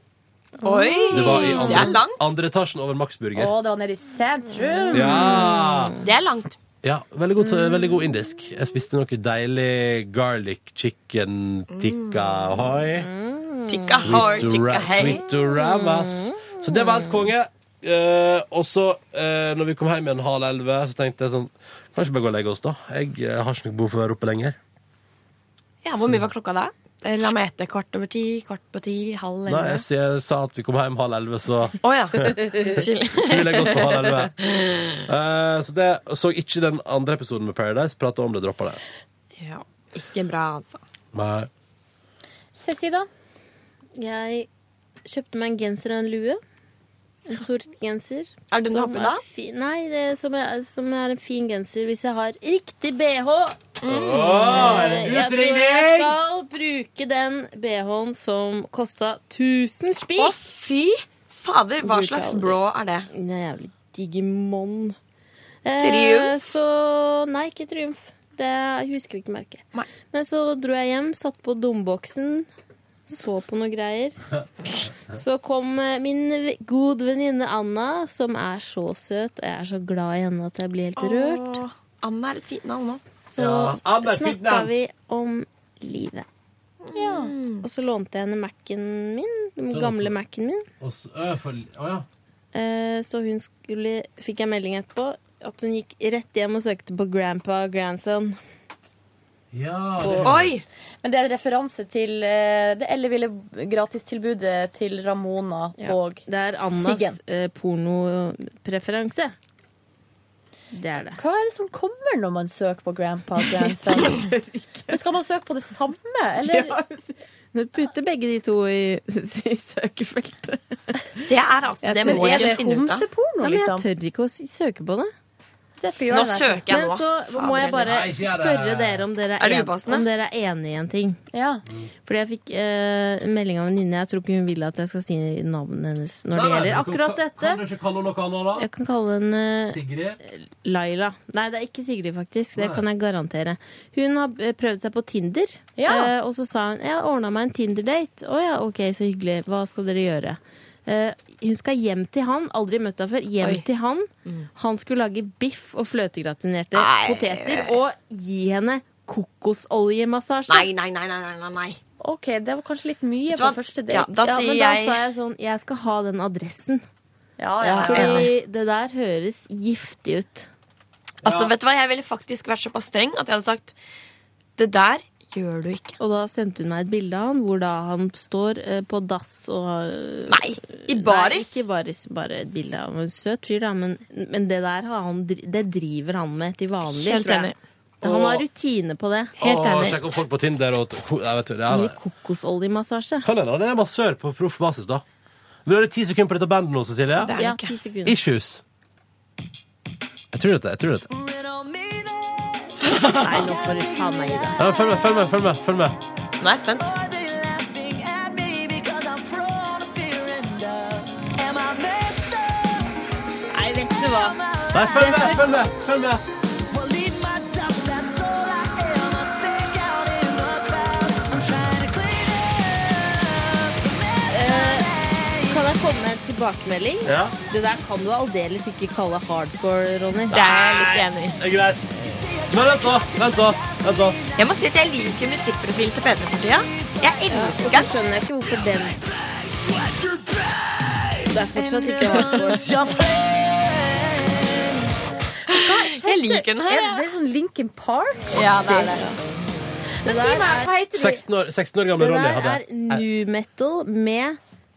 Oi, Det var i Mm, det er andre, langt. andre etasjen over Max Burger. Å, det var nede i sentrum. Ja. Det er langt. Ja, veldig god, veldig god indisk. Jeg spiste noe deilig garlic chicken tikka hoi. Tikka hard, tikka hei. Sweetoramas. Så det var helt konge. Eh, og så, eh, når vi kom hjem igjen halv elleve, så tenkte jeg sånn Kanskje bare gå og legge oss, da. Jeg eh, har ikke noe behov for å være oppe lenger. Ja, hvor mye var klokka da? Eh, La meg gjette. Kvart over ti, kvart på ti, halv Nei, jeg, elleve. s- jeg sa at vi kom hjem halv elleve, så Å ja. Unnskyld. Så ville jeg gått for halv elleve. Eh, så det så ikke den andre episoden med Paradise. Prata om det, droppa det. Ja, ikke bra, altså. Nei. Ceci, da? Jeg kjøpte meg en genser og en lue. En sort genser. Er det noe Som oppi da? fi- Nei, det er, som, er, som er en fin genser hvis jeg har riktig BH. Åh, er det Eh, en jeg tror utringning? Jeg skal bruke den BH-en som kosta 1000 spi. Å, fy fader, hva Bruker slags aldri. blå er det? Den er jævlig digimon. Eh, Triumf? Så nei, ikke triumf. Det, jeg husker ikke merket. Men så dro jeg hjem, satt på domboksen, så på noe greier. Så kom eh, min v- god venninne Anna, som er så søt, og jeg er så glad i henne at jeg blir helt rørt. Anna er et fint navn nå. Så Ja, Anna er et fint snakka navn. vi om livet. Og så lånte jeg henne Mac-en min, den Så- gamle Mac-en min. Og så, øh, for, å ja. Eh, Så hun skulle, fikk jeg melding etterpå at hun gikk rett hjem og søkte på grandpa og grandson. det- Oi! Men det er en referanse til eh, det elleville gratistilbudet eh, til Ramona og Det er Annas Siggen. eh, pornopreferanse. Det er det. Hva er det som kommer når man søker på grandpa og grandson? Men skal man søke på det samme, eller? Du putter begge de to i, i søkefeltet. Det er altså, Jeg det tør- må jeg er det finne ut av. homseporno, Ja, men jeg liksom? Jeg tør ikke å s- søke på det. skal gjøre Nå det der. søker jeg Men nå. så Fader må jeg bare heller. Nei, ikke gjør det. spørre dere om dere Er er, det en, upassende? om dere er enig i en ting. Fordi jeg fikk eh, en melding av en venninne. Jeg tror ikke hun vil at jeg skal si navnet hennes når det gjelder akkurat dette. Kan du ikke kalle henne noe annet, da? Jeg kan kalle henne eh, Sigrid? Laila. Nei, det er ikke Sigrid, faktisk. Det Nei. kan jeg garantere. Hun har eh, prøvd seg på Tinder, Ja. Eh, og så sa hun jeg ordna meg en Tinder-date. Å ja, OK, så hyggelig. Hva skal dere gjøre? Eh, hun skal hjem til han. Aldri møtt henne før. Hjem Oi. til han. Han skulle lage biff og fløtegratinerte Nei. poteter og gi henne kokosoljemassasje. Nei, nei, nei, nei, nei, nei. OK, det var kanskje litt mye Vet du på hva? første Ja, date. da, Ja, sier men jeg... da sa jeg sånn Jeg skal ha den adressen. Ja, ja, ja, Fordi ja. det der høres giftig ut. Altså, vet du hva, jeg ville faktisk vært såpass streng at jeg hadde sagt det der gjør du ikke. Og da sendte hun meg et bilde av han hvor da han står eh, på dass og eh, Nei, i baris. Nei, ikke baris, bare et bilde av en søt fyr, da. Men, men det der har han, dri- det driver han med til vanlig. Helt tror jeg. enig. Det- Han Åh. har rutine på det. Å, Sjekk om folk på Tinder og jeg vet, jo, det Mye er, kokosoljemassasje. Kan hende han er massør på proff basis, da. Vi har ti sekunder på dette bandet nå, Cecilie. Det er det Ja, ikke. ti sekunder. Issues. Jeg tror dette. jeg tror dette Nei, nå får du faen meg gi deg. ja, Følg med, følg med. følg med, følg med Nå er jeg spent. Nei, vet du hva? Nei, følg med! følg med, følg med Eh, Kan jeg komme med en tilbakemelding? Ja. Det der kan du aldeles ikke kalle hardcore, Ronny. Det er jeg litt enig i. Det er greit. Men vent, da. Vent, da. Vent da. Jeg må si at jeg liker musikkprofilen til Peter for tida. Jeg elsker den. altså, skjønner jeg ikke hvorfor den Det er fortsatt ikke hardcore. Jeg liker den her. Er det sånn Linkin Park? Ja, det er det. Men si meg, hva heter de? 16 år, 16 år gamle Det Ronny der hadde er new metal med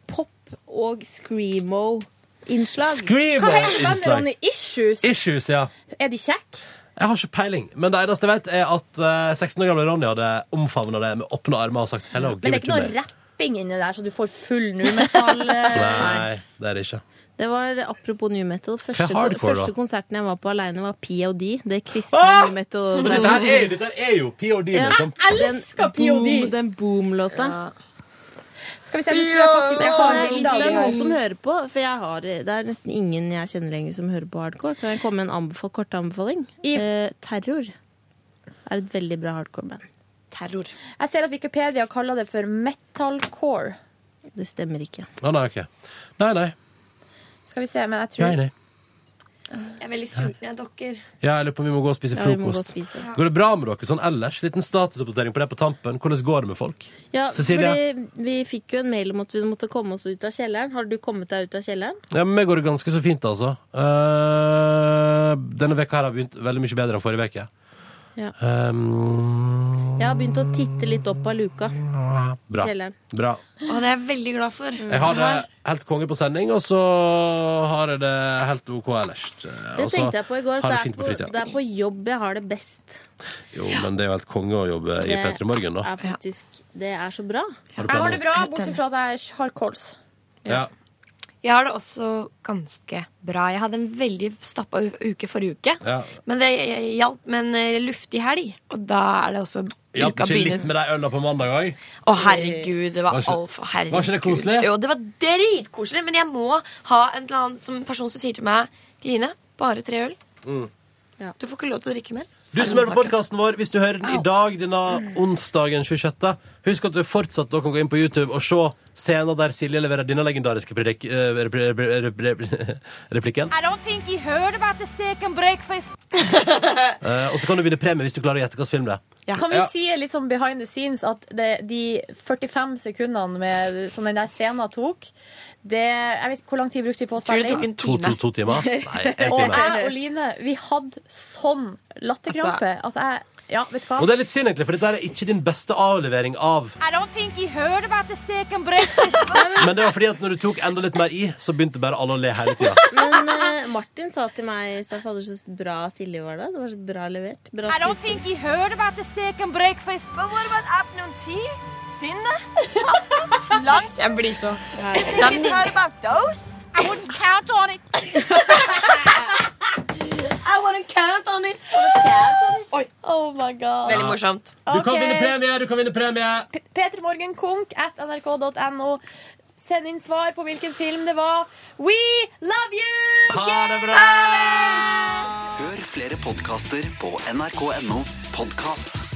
pop og screamo-innslag. Screamo Hva heter bandet, innslag. Ronny? Issues? Issues, ja. Er de kjekke? Jeg har ikke peiling, men det eneste jeg vet, er at eh, 16 år gamle Ronny hadde omfavna det med åpne armer og sagt hello. Men det give er it ikke to noe me. rapping inni der, så du får full eh. nu metal Nei, det er det ikke. Det var apropos new metal. Første, Hva er hardcore, første da? konserten jeg var på alene var POD. Det kristne new metal. Men dette her er, jo- dette her er jo POD, liksom. Den boom- Den boom-låta. Skal vi se, nå tror jeg faktisk jeg har Hvis det er noen som hører på, for jeg har, det er nesten ingen jeg kjenner lenger som hører på hardcore, kan jeg komme med en anbefal, kort anbefaling? Eh, terror er et veldig bra hardcore-band. Terror. Jeg ser at Wikipedia kaller det for metalcore. Det stemmer ikke. Å, nei, ok. Nei, nei. Skal vi se, men jeg nei, tror nei. Jeg er veldig sulten, jeg, dere. Ja, jeg lurer på om vi må gå og spise Ja, vi må gå og frokost. spise. Går det bra med dere sånn ellers? Liten statusoppdatering på det på tampen. Hvordan går det med folk? Ja, Cecilie? fordi vi fikk jo en mail om at vi måtte komme oss ut av kjelleren. Har du kommet deg ut av kjelleren? Ja, men Meg går det ganske så fint, altså. Eh, denne veka her har begynt veldig mye bedre enn forrige uke. Ja. Um, Jeg har begynt å titte litt opp av luka. bra. Kjelleren. bra. Og det er jeg veldig glad for. Mm. Jeg har det helt konge på sending, og så har jeg det helt OK ellers. Det tenkte jeg på i går. Har det At det, fint på er på, det fritida. er på jobb jeg har det best. Jo, men det er jo helt konge å jobbe i Det P3 Morgen, da. Er faktisk, det er så bra. Har du Jeg har planer? det bra, bortsett fra at jeg har kols. Ja. Jeg har det også ganske bra. Jeg hadde en veldig stappa u- uke forrige uke. Ja. Men det hjalp med en eh, luftig helg. Og da er det også Hjalp uka ikke litt med de øla på mandag òg? Å, herregud, det var Var ikke- altfor herregud. var ikke det koselig? Jo, det var dritkoselig, men jeg må ha en eller annen som person som sier til meg Line, bare tre øl. Mm. Du får ikke lov til å drikke mer. Du som hører på podkasten vår, hvis du hører den i dag, denne onsdagen 26., husk at du fortsatt da kan gå inn på YouTube og se scener der Silje leverer denne legendariske predik- eh, repri- repri- repri- replikken. I don't think he heard about the second breakfast. Eh, Og så kan du vinne premie hvis du klarer å gjette hvilken film det er. Kan vi Ja. si litt sånn behind the scenes at det, de 45 sekundene med, som den der scenen tok det, Jeg vet ikke hvor lang tid brukte vi på å Tror spille det tok en To- to- to timer? Nei, en og time. jeg og Line, vi hadde sånn latterkrampe Altså- at jeg Ja, vet du hva? Og det er litt synd, egentlig, for dette er ikke din beste avlevering av I don't think he heard about the second breakfast. Men det var fordi at når du tok enda litt mer i, så begynte bare alle å le hele tida. Men eh, Martin sa til meg sa, Fader, så bra Silje var da. Det var så bra levert. Bra I don't skuespill. think he heard about the second breakfast. But what about afternoon tea? Dinner? Lunch? Jeg blir så He's heard about those? I wouldn't count on it. I wouldn't count on it. Oi. Oh my god. Veldig morsomt. Du kan Ok. vinne premie! Du kan vinne premie! P3morgenkonk at nrk.no. Send inn svar på hvilken film det var. We love you! Ha det bra! Hør flere podkaster på nrk.no podkast.